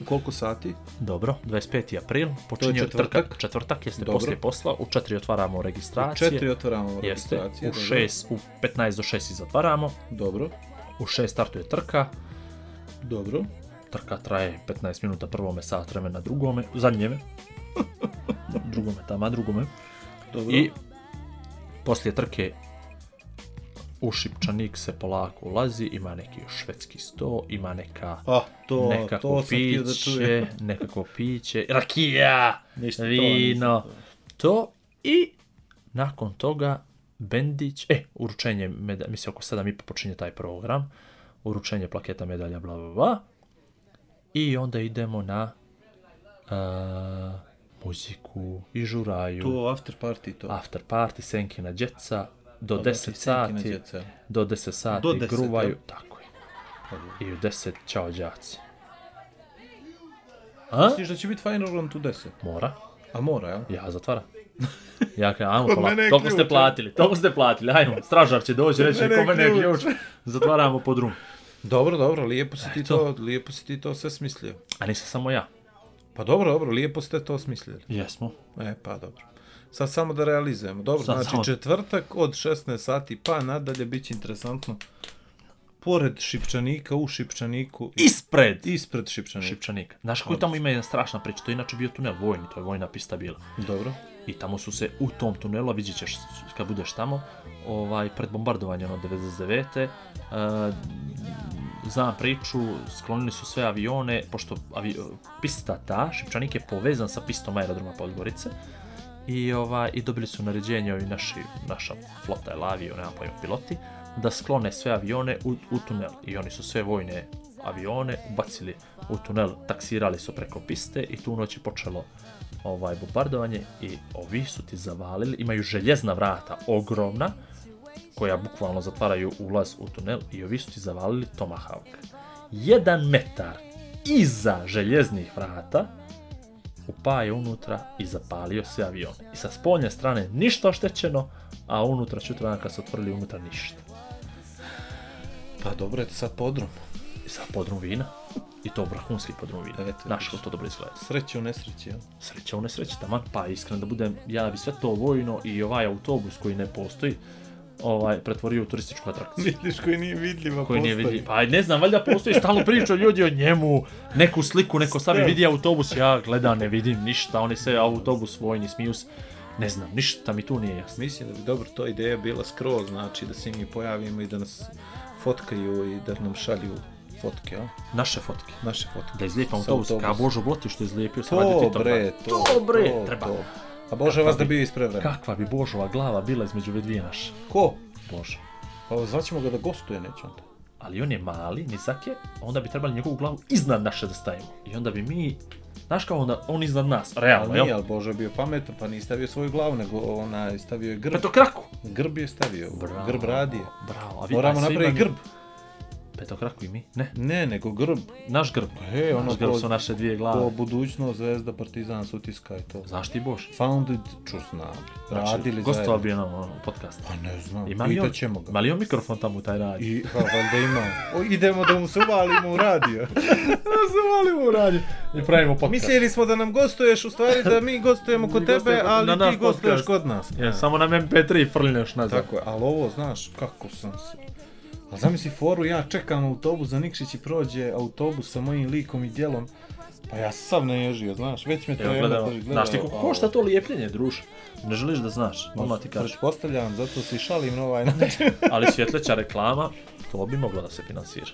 U Koliko sati? Dobro, 25. april, počinje četvrtak. trka, četvrtak jeste Dobro. poslije posla, u 4 otvaramo U registracije, četiri otvaramo jeste, registracije. u dobro. 6, u 15 do 6 i zatvaramo, Dobro, u 6 startuje trka, dobro. trka traje 15 minuta prvome, sat vremena drugome, zadnjeme, drugome, tama drugome, Dobro. i poslije trke u Šipčanik se polako ulazi, ima neki švedski sto, ima neka... Ah, to, nekako to sam htio da čujem. piće, nekako piće, rakija, Ništa to vino, nisam to i nakon toga Bendić, e, uručenje, meda, mislim oko 7.30 počinje taj program, uručenje plaketa, medalja, bla, bla, bla, i onda idemo na a, muziku i žuraju, To after party to. after party, Senkina djeca, do Znači, 10 Senkina sati, djeca. do 10 sati Do 10, gruvaju, jel? Pa tako je, Dobro. i u 10 čao đaci. A? Misliš da će biti Final Round u 10? Mora. A mora, jel? Ja zatvaram. Ja kažem, ajmo Kod pola, mene je toliko ste ključ. platili, toliko ste platili, ajmo, stražar će doći i reći mene je kome ne ključ." ključ, zatvaramo pod rum. Dobro, dobro, lijepo si ti to, lijepo si ti to sve smislio. A nisam samo ja. Pa dobro, dobro, lijepo ste to smislili. Jesmo. E, pa dobro. Sad samo da realizujemo. Dobro, Sad znači samo- četvrtak od 16 sati pa nadalje bit će interesantno. Pored Šipčanika, u Šipčaniku, i Ispred ispred Šipčanika. Šipčanika. Znaš koju tamo ima jedna strašna priča, to je inače bio tunel vojni, to je vojna pista bila. Dobro. I tamo su se u tom tunelu, a vidjet ćeš kad budeš tamo, ovaj, pred bombardovanjem od 99. Uh, znam priču, sklonili su sve avione, pošto avi, e, pista ta, Šipčanik je povezan sa pistom aerodroma Podgorice, i, ovaj, i dobili su naređenje ovi naši, naša flota ili avio, nema pojma, piloti, da sklone sve avione u, u tunel. I oni su sve vojne avione bacili u tunel, taksirali su preko piste i tu noć je počelo ovaj bombardovanje i ovi su ti zavalili, imaju željezna vrata, ogromna, koja bukvalno zatvaraju ulaz u tunel i ovi su ti zavalili Tomahawk. Jedan metar iza željeznih vrata upao je unutra i zapalio se avion. I sa spoljne strane ništa oštećeno, a unutra čutrana kad su otvorili unutra ništa. Pa dobro, eto sad podrum. I sa podrum vina, i to vrhunski podrum vina. Eto, Znaš kako to dobro izgleda. Sreće u nesreći, jel? Sreća u nesreći, taman, pa iskreno da budem, ja bi sve to vojno i ovaj autobus koji ne postoji, ovaj, pretvorio u turističku atrakciju. Vidiš koji nije vidljiva Koji nije postoji. vidi. Pa ne znam, valjda postoji stalno priča ljudi o njemu, neku sliku, neko stavi Sve. vidi autobus, ja gledam, ne vidim ništa, oni se autobus vojni smiju se. Ne znam, ništa mi tu nije jasno. Mislim da bi dobro to ideja bila skroz, znači da se mi pojavimo i da nas fotkaju i da nam šalju fotke, a? Naše fotke. naše fotke. Da izlijepam Sa autobus, autobusa. kao Božo Bloti što je izlijepio sa radio To Titom. bre, to, to bre, to, treba. pa to. A Bože vas da bio ispred vremena. Kakva bi Božova glava bila između ove dvije naše? Ko? Bože. Pa zvaćemo ga da gostuje, neće onda. ali on je mali, nizak je, a onda bi trebali njegovu glavu iznad naše da stavimo. I onda bi mi, znaš kao onda, on iznad nas, realno, Ali nije, jel? ali Bože je bio pametan, pa nije stavio svoju glavu, nego ona stavio je grb. Petokraku! Grb je stavio, Bravo. grb radije. Bravo, a vi Moramo a svi napraviti nam- grb. Petokraku i mi? Ne, Ne, nego grb. naš grb. E, ono naš grb ko- su naše dvije To glave. budućnost, zvezda, partizan, sutiska i to. Znaš ti Boš? Founded, ču znam, radili Gostova zajedno. bi nam ono, podcast. Pa ne znam, Ima li on, pitat ćemo ga. ima li on mikrofon tamo u taj radi? I, pa valjda ima. O, idemo da mu se uvalimo u radio. Zavalimo u radi i pravimo podcast. Mislili smo da nam gostuješ, u stvari da mi gostujemo kod Mi tebe, gostujemo kod- ali na naš ti gostuješ podcast. kod nas. Ja, samo nam MP3 frljneš nazad. Tako je, ali ovo, znaš, kako sam se... A zamisli foru, ja čekam autobus za Nikšić i prođe autobus sa mojim likom i djelom. Pa ja sam sav naježio, znaš, već me to Evo, je gledamo. gledao, Znaš ti koliko pa, košta to lijepljenje, druže? Ne želiš da znaš, odmah ono ti kažem. Pretpostavljam, zato se i šalim na ovaj način. Ali svjetleća reklama, to bi moglo da se finansira.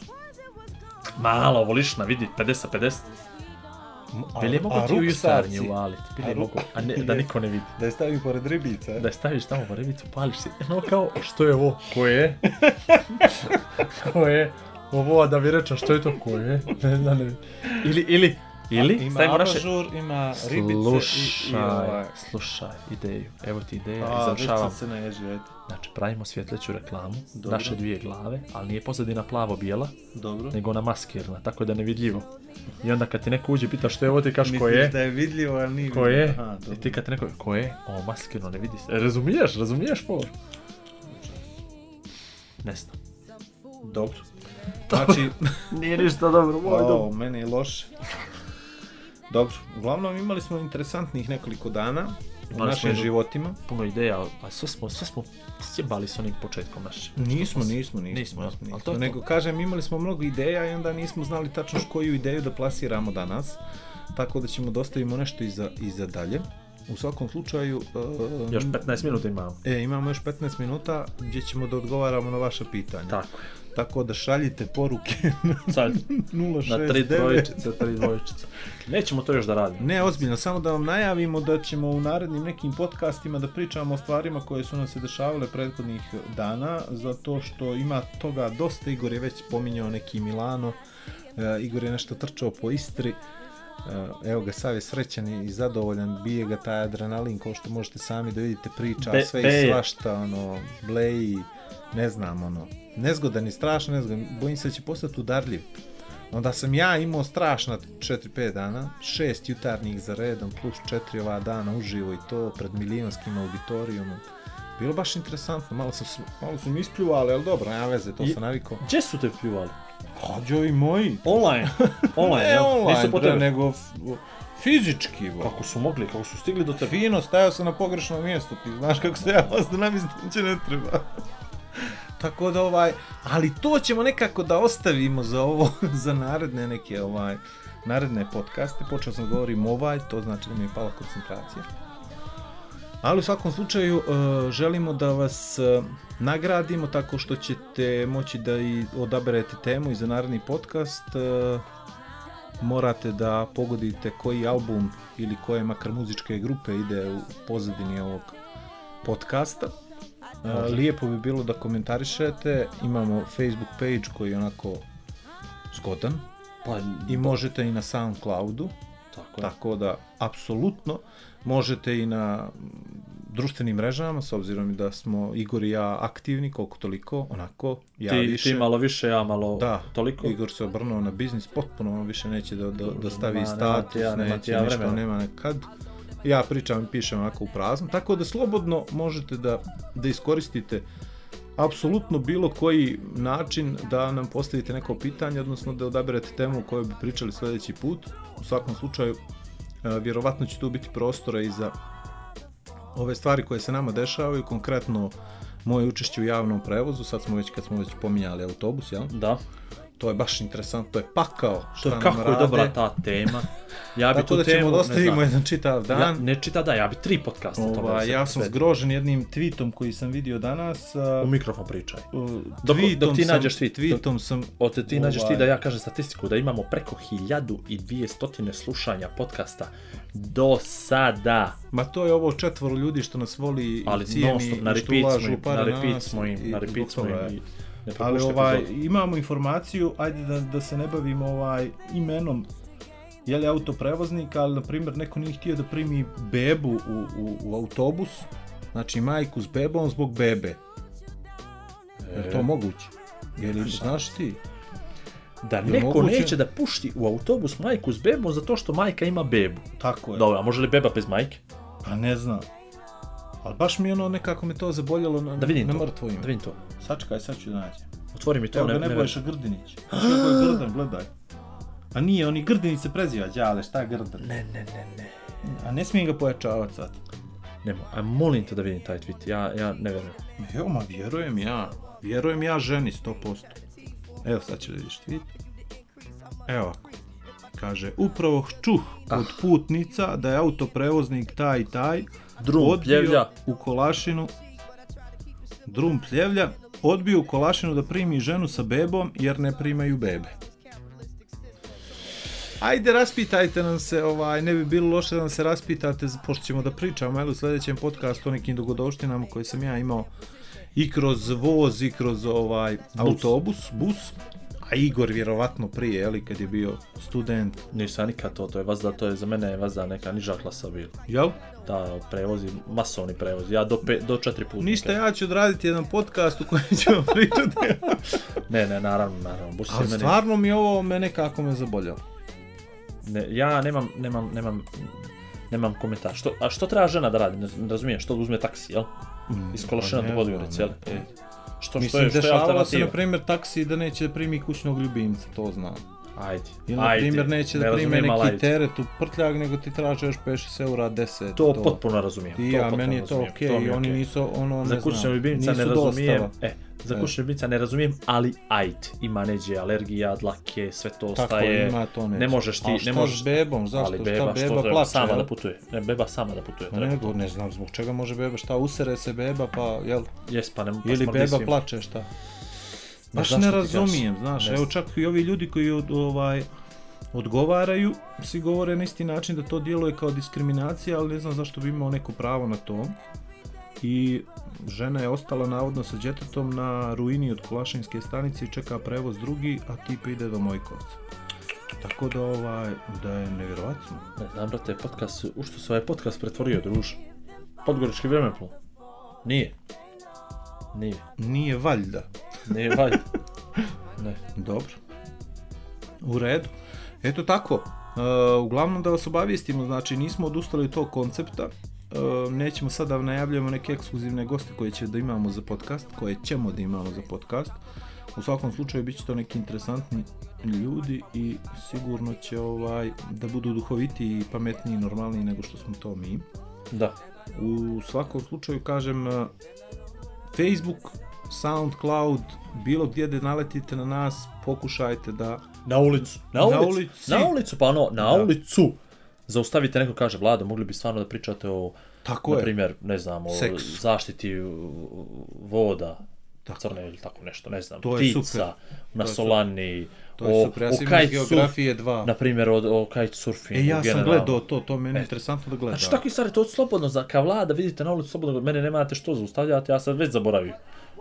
Malo, voliš na vidi, 50-50. Bili je mogo ti u ruksavci? jutarnji uvalit, bili je A ru- mogo, a ne, da niko ne vidi. Da je stavi pored ribica. Da je staviš tamo u ribicu, pališ se, no kao, što je ovo? Ko je? ko je? Ovo, a da mi rečem, što je to, ko je? Ne znam, ne Ili, ili, ili, Ima stavimo naše... abažur, ima ribice i, i Slušaj, ovaj. slušaj ideju, evo ti ideja i A, već sam završavam. se naježio, eto. Znači, pravimo svjetleću reklamu, Dobro. naše dvije glave, ali nije pozadina plavo-bijela, Dobro. nego ona maskirna, tako da je nevidljivo. I onda kad ti neko uđe i pita što je ovo, ti kaš ko je, Misliš da je vidljivo, ali nije ko je, vidljivo. Aha, i ti kad ti neko, ko je, o maskirno, ne vidi se. E, razumiješ, razumiješ po? Ne znam. dobro. Znači, Nije ništa dobro, moj o, meni je loše. Dobro, uglavnom imali smo interesantnih nekoliko dana u Imali smo našim jednu- životima. Puno ideja, a sve smo, sve smo sjebali s onim početkom našim. Nismo, nismo, nismo. Nismo, jel? Ali to nismo. je to. Nego, kažem, imali smo mnogo ideja i onda nismo znali tačno koju ideju da plasiramo danas. Tako da ćemo dostavimo nešto i za, i za dalje. U svakom slučaju... e, Još 15 minuta imamo. E, imamo još 15 minuta gdje ćemo da odgovaramo na vaše pitanja. Tako je. Tako da šaljite poruke na Sad, 069. na tri dvoječice, tri dvoječice. Nećemo to još da radimo. Ne, ozbiljno, samo da vam najavimo da ćemo u narednim nekim podcastima da pričamo o stvarima koje su nam se dešavale prethodnih dana, zato što ima toga dosta, Igor je već spominjao neki Milano, e, Igor je nešto trčao po Istri, E, evo ga, Sav je srećan i zadovoljan, bije ga taj adrenalin, kao što možete sami da vidite, priča Be- sve beje. i svašta, ono, bleji, ne znam, ono, nezgodan i strašno nezgodan, bojim se da će postati udarljiv. Onda sam ja imao strašna 4-5 dana, 6 jutarnjih za redom, plus 4 ova dana uživo i to, pred milijonskim auditorijumom. Bilo baš interesantno, malo, sam, s- malo su mi ispljuvali, ali dobro, nema veze, to I- sam navikao. Gdje su te pljuvali? Hađo i moji. Online. Online, Ne jel? E, online, Nisu po bre, tebe. nego f- fizički, bo. Kako su mogli, kako su stigli do tebe? Fino, stajao sam na pogrešnom mjestu, ti znaš kako se ja ostanam iz će ne treba. Tako da ovaj, ali to ćemo nekako da ostavimo za ovo, za naredne neke ovaj, naredne podcaste. Počeo sam da govorim ovaj, to znači da mi je pala koncentracija. Ali u svakom slučaju e, želimo da vas e, nagradimo tako što ćete moći da i odaberete temu i za naredni podcast. e, morate da pogodite koji album ili koje makar muzičke grupe ide u pozadini ovog podcasta. E, Lijepo bi bilo da komentarišete, imamo Facebook page koji je onako zgodan Pa, i možete i na Soundcloudu, tako, je. tako da apsolutno možete i na mm, društvenim mrežama, s obzirom da smo Igor i ja aktivni, koliko toliko, onako, ja ti, više. ti malo više, ja malo Da, toliko. Igor se obrnuo na biznis, potpuno on više neće da, da, da stavi Ma, nema status, ti ja- nema ti neće ja ništa, vremena. nema nekad. Ja pričam i pišem onako u prazno, tako da slobodno možete da, da iskoristite apsolutno bilo koji način da nam postavite neko pitanje, odnosno da odaberete temu o kojoj bi pričali sljedeći put. U svakom slučaju, e, vjerovatno će tu biti prostora i za ove stvari koje se nama dešavaju, konkretno moje učešće u javnom prevozu, sad smo već kad smo već pominjali autobus, jel? Da. To je baš interesantno, to je pakao To šta je nam kako rade. je dobra ta tema. Ja bi Tako tu da temu, ćemo da ne ostavimo znam. jedan čitav dan. Ja, ne čita da, ja bi tri podcasta o tome. Ova, ja sam sve- zgrožen jednim tweetom koji sam vidio danas. U Uh, mikrofon pričaj. dok, Dok- dok ti nađeš tweet. Tweetom sam... Ote ti nađeš ti Ovaj. da ja kažem statistiku da imamo preko 1200 slušanja podcasta do sada. Ma to je ovo četvoro ljudi što nas voli Ali i cijeni non stop, na i što repeat smo ulažu im, na pare repeat nas smo im, i na repeat zbog smo im. toga je. i Ne Ali propušta ovaj, epizodu. imamo informaciju, ajde da, da se ne bavimo ovaj imenom je li autoprevoznik, ali na primjer neko nije htio da primi bebu u, u, u autobus, znači majku s bebom zbog bebe. Je li to moguće? Je li, znaš ti? Da je neko moguće? neće da pušti u autobus majku s bebom zato što majka ima bebu. Tako je. Dobro, a može li beba bez majke? Pa ne znam. Ali baš mi je ono nekako me to zaboljelo na, Da vidim na to. mrtvo ime. Da vidim to. Sačekaj, sad ću naći. Otvori mi to, Evo ne, ga ne, ne, Nebojša Grdinić. Kako je Grdan, gledaj. A nije, oni Grdinić se preziva, đale, šta Grdan? ne, ne, ne, ne. A ne smijem ga pojačavati sad. Nemo, a molim te da vidim taj tweet, ja, ja ne vjerujem. Evo, ma vjerujem ja. Vjerujem ja ženi, 100%. Evo, sad će da vidiš tweet. Evo ovako. Kaže, upravo čuh Ah. od putnica da je autoprevoznik taj i taj Drum pljevlja. u Kolašinu Drum pljevlja odbio u Kolašinu da primi ženu sa bebom jer ne primaju bebe. Ajde, raspitajte nam se, ovaj, ne bi bilo loše da nam se raspitate, z- pošto ćemo da pričamo jel, u sljedećem podcastu o nekim dogodovštinama koje sam ja imao i kroz voz, i kroz ovaj autobus, bus, a Igor vjerovatno prije, jel, kad je bio student, Nisam nikad to, to je vazda, to je za mene je vazda neka niža klasa bila. jel? Da, prevozi, masovni prevozi, ja do, pe, do četiri puta. Ništa, ja ću odraditi jedan podcast u kojem ćemo pričati. Ne, ne, naravno, naravno, baš se Ali mene... stvarno mi ovo me nekako me zaboljalo. Ne, ja nemam, nemam, nemam, nemam komentar. Što, a što treba žena da radi? Ne, ne razumijem, što da uzme taksi, jel? Iz Kološina pa do ne Podgorice, znam, jel? ne. E, Što, što Mislim, je, što je dešavalo se, na alternativa? primjer, taksi da neće da primi kućnog ljubimca, to znam. Ajde, Ili, na ajde. primjer, neće da prime razumijem, ali neki ajde. teret u prtljag, nego ti traže još 5-6 eura, 10. To, potpuno razumijem. I to ja, potpuno meni je to razumijem, okej, mi i je oni okej. nisu, ono, ne Za kućnog znam, ljubimca ne nisu razumijem, dostava. e, za E. kućnog ljubimca ne razumijem, ali ajde, ima neđe alergija, dlake, sve to Tako ostaje, ima to nešto. ne možeš ti, Ali ne šta možeš, s bebom, zašto, ali šta beba, što beba treba, plače, sama jel? da putuje, ne, beba sama da putuje, Ma treba, nego, ne znam zbog čega može beba, šta usere se beba, pa, jel, jes, pa ne, pa Ili smrdi beba svima. plače, šta? Baš znaš ne šta ti kažem. razumijem, znaš, Ne evo znam. čak i ovi ljudi koji od, ovaj, odgovaraju, svi govore na isti način da to djeluje kao diskriminacija, ali ne znam zašto bi imao neko pravo na to. I žena je ostala navodno sa djetetom na ruini od Kulašinske stanice i čeka prevoz drugi, a tip ide do Mojkovca. Tako da ovaj, da je nevjerovatno. Ne znam, brate, podcast, u što se ovaj podcast pretvorio, druže? Podgorički vremeplov. Nije. Nije. Nije valjda. Nije valjda. Ne. Dobro. U redu. Eto tako. E, uglavnom da vas obavijestimo, znači nismo odustali od tog koncepta. E, nećemo sada da najavljujemo neke ekskluzivne goste koje će da imamo za podcast, koje ćemo da imamo za podcast. U svakom slučaju bit će to neki interesantni ljudi i sigurno će ovaj da budu duhovitiji i pametniji i normalniji nego što smo to mi. Da. U svakom slučaju kažem eh, Facebook, Soundcloud, bilo gdje da naletite na nas, pokušajte da Na ulicu. Na Na ulicu. Na ulici. ulicu, pa ono, na Da. ulicu. Zaustavite, neko kaže, Vlado, mogli bi stvarno da pričate o, tako na je, primjer, ne znam, o Seksu. zaštiti uh, voda. Tako. Crne ili tako nešto, ne znam, To je ptica, super. na je Solani, to je o, super, ja o sam imao iz kitesurf, geografije 2. na primjer, o, o kitesurfingu, E, ja sam generalno. gledao to, to meni je interesantno Pa da gledam. Znači takvi stvari, to slobodno, za, kao vlada, vidite na ulicu slobodno, mene nemate što zaustavljati, ja sam već zaboravio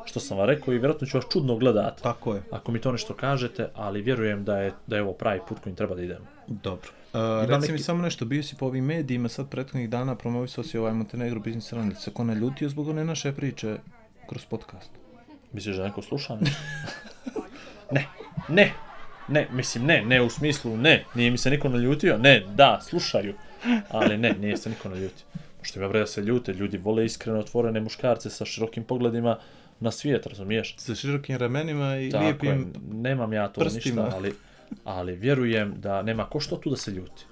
što sam vam rekao i vjerojatno ću vas čudno gledati. Tako je, Ako mi to nešto kažete, ali vjerujem da je, da je ovo pravi put kojim treba da idemo. dobro. Uh, reci mi neki- samo nešto, bio si po ovim medijima sad prethodnih dana, promovisao si ovaj Montenegro Business Runner, se ko naljutio zbog one naše priče kroz podcast. Misliš da neko sluša? Ne. ne, ne, ne, mislim ne, ne u smislu ne, nije mi se niko naljutio, ne, da, slušaju, ali ne, nije se niko naljutio. Što ima bre da se ljute, ljudi vole iskreno otvorene muškarce sa širokim pogledima na svijet, razumiješ? Sa širokim ramenima i Tako je, lijepim... nemam ja to prstima. ništa, ali, ali vjerujem da nema ko što tu da se ljuti.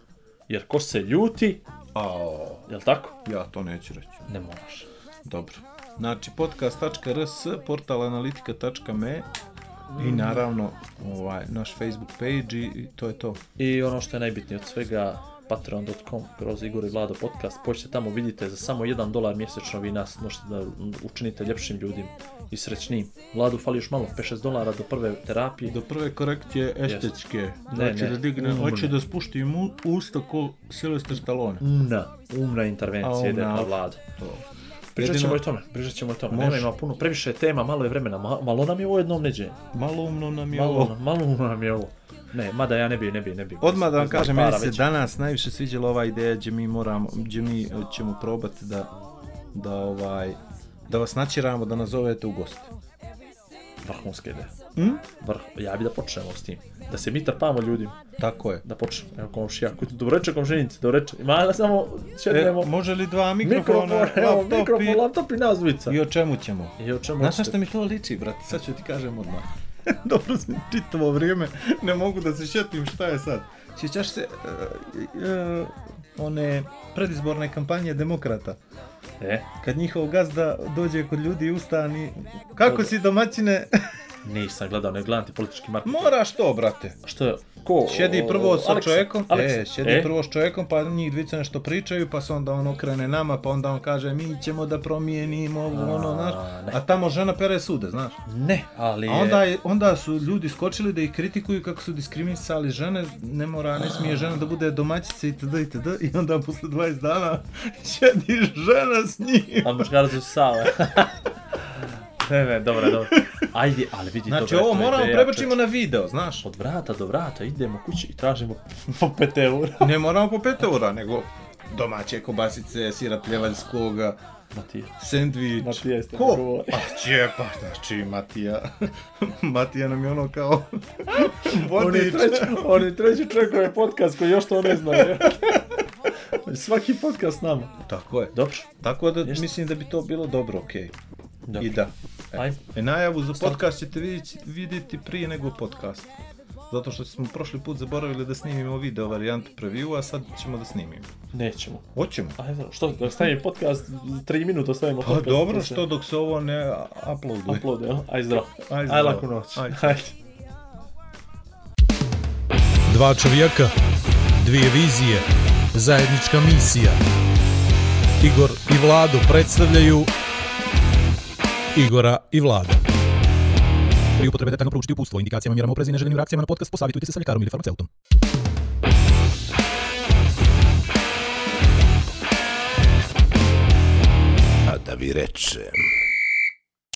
Jer ko se ljuti, Ao, jel tako? ja to neću reći. Ne moraš. Dobro. Znači, podcast.rs, portal analitika.me i naravno ovaj, naš Facebook page i, i to je to. I ono što je najbitnije od svega, patreon.com kroz Igor i Vlado podcast, pođite tamo, vidite, za samo 1 dolar mjesečno vi nas možete da učinite ljepšim ljudima i srećnijim. Vladu fali još malo, 5-6 dolara do prve terapije. Do prve korekcije estetske. Znači ne, da digne, umre. hoće da spušti mu usta ko Sylvester Stallone. Umna, umna A, intervencija umna. ide na Vladu. Pričat ćemo i o tome, pričat ćemo i o tome. Nema Može. ima puno, previše je tema, malo je vremena, ma- malo nam je ovo jednom neđe. Malo umno nam je ovo. Malo, malo nam je ovo. Ne, mada ja ne bi, ne bi, ne bi. Odmah da vam Znam kažem, para meni se već. danas najviše sviđala ova ideja gdje mi moramo, gdje mi eh, ćemo probati da, da ovaj, da vas načiramo da nas zovete u goste. Vrhunska ideja. Hm? Vrh, ja bi da počnemo s tim. Da se mi trpamo ljudima. Tako je. Da počnemo. Evo komšija, kutu, dobroveče komšinici, dobroveče. Mala samo E, šednemo. može li dva mikrofona, mikrofon, evo, laptop i- mikrofon, laptop i nas dvica. i o čemu ćemo? I o čemu Znaš hoćete? na što mi to liči, brate? Sad ću ti kažem odmah. Dobro sam čitavo vrijeme, ne mogu da se šetim šta je sad. Sjećaš se eh, eh, one predizborne kampanje demokrata? E, Kad njihov gazda dođe kod ljudi i ustani, kako si domaćine, nisam gledao, ne gledam ti politički marketing. moraš to, brate. Što je, ko? Sjedi prvo sa Aleksa, čovjekom, Aleksa, e, sjedi prvo s čovjekom, pa njih dvice nešto pričaju, pa se onda on okrene nama, pa onda on kaže mi ćemo da promijenimo ovo, ono, znaš. ne. A tamo žena pere sude, znaš. Ne, ali A onda, je, onda su ljudi skočili da ih kritikuju kako su diskriminisali žene, ne mora, ne smije žena da bude domaćica itd. itd. I onda posle 20 dana sjedi žena s njim. A muškarac su sale. ne, ne, dobro, dobro. Ajde, ali vidi, Znači dobra, ovo to je moramo ideja, prebačimo čovječe. na video, znaš. Od vrata do vrata idemo kući i tražimo po 5 eura. Ne moramo po 5 eura, nego domaće kobasice, sira pljevaljskoga, Matija. sandvič. Matija jeste Ko? govori. Pa će, pa znači Matija. Matija nam je ono kao On je vodič. treći, on je treći čovjek koji je podcast koji još to ne zna. je. Svaki podcast s nama. Tako je. Dobro. Tako da Jeste. mislim da bi to bilo dobro, okej. Dobro. I da. E, Ajde. E, najavu za podcast ćete vidjeti, vidjeti prije nego podcast. Zato što smo prošli put zaboravili da snimimo video varijantu preview, a sad ćemo da snimimo. Nećemo. Hoćemo. Ajde, što, da stavim podcast, 3 minuta stavimo Pa podcast. dobro to se što dok se ovo ne uploaduje. Upload, jel? Ajde zdravo. Ajde, Ajde zdravo. laku noć. Ajde. Ajde. Dva čovjeka, dvije vizije, zajednička misija. Igor i Vlado predstavljaju Igora i Vlada. Pri upotrebe detaljno proučiti upustvo, indikacijama, mjerama opreza i neželjenim reakcijama na podcast posavitujte se sa ljekarom ili farmaceutom. A da vi rečem.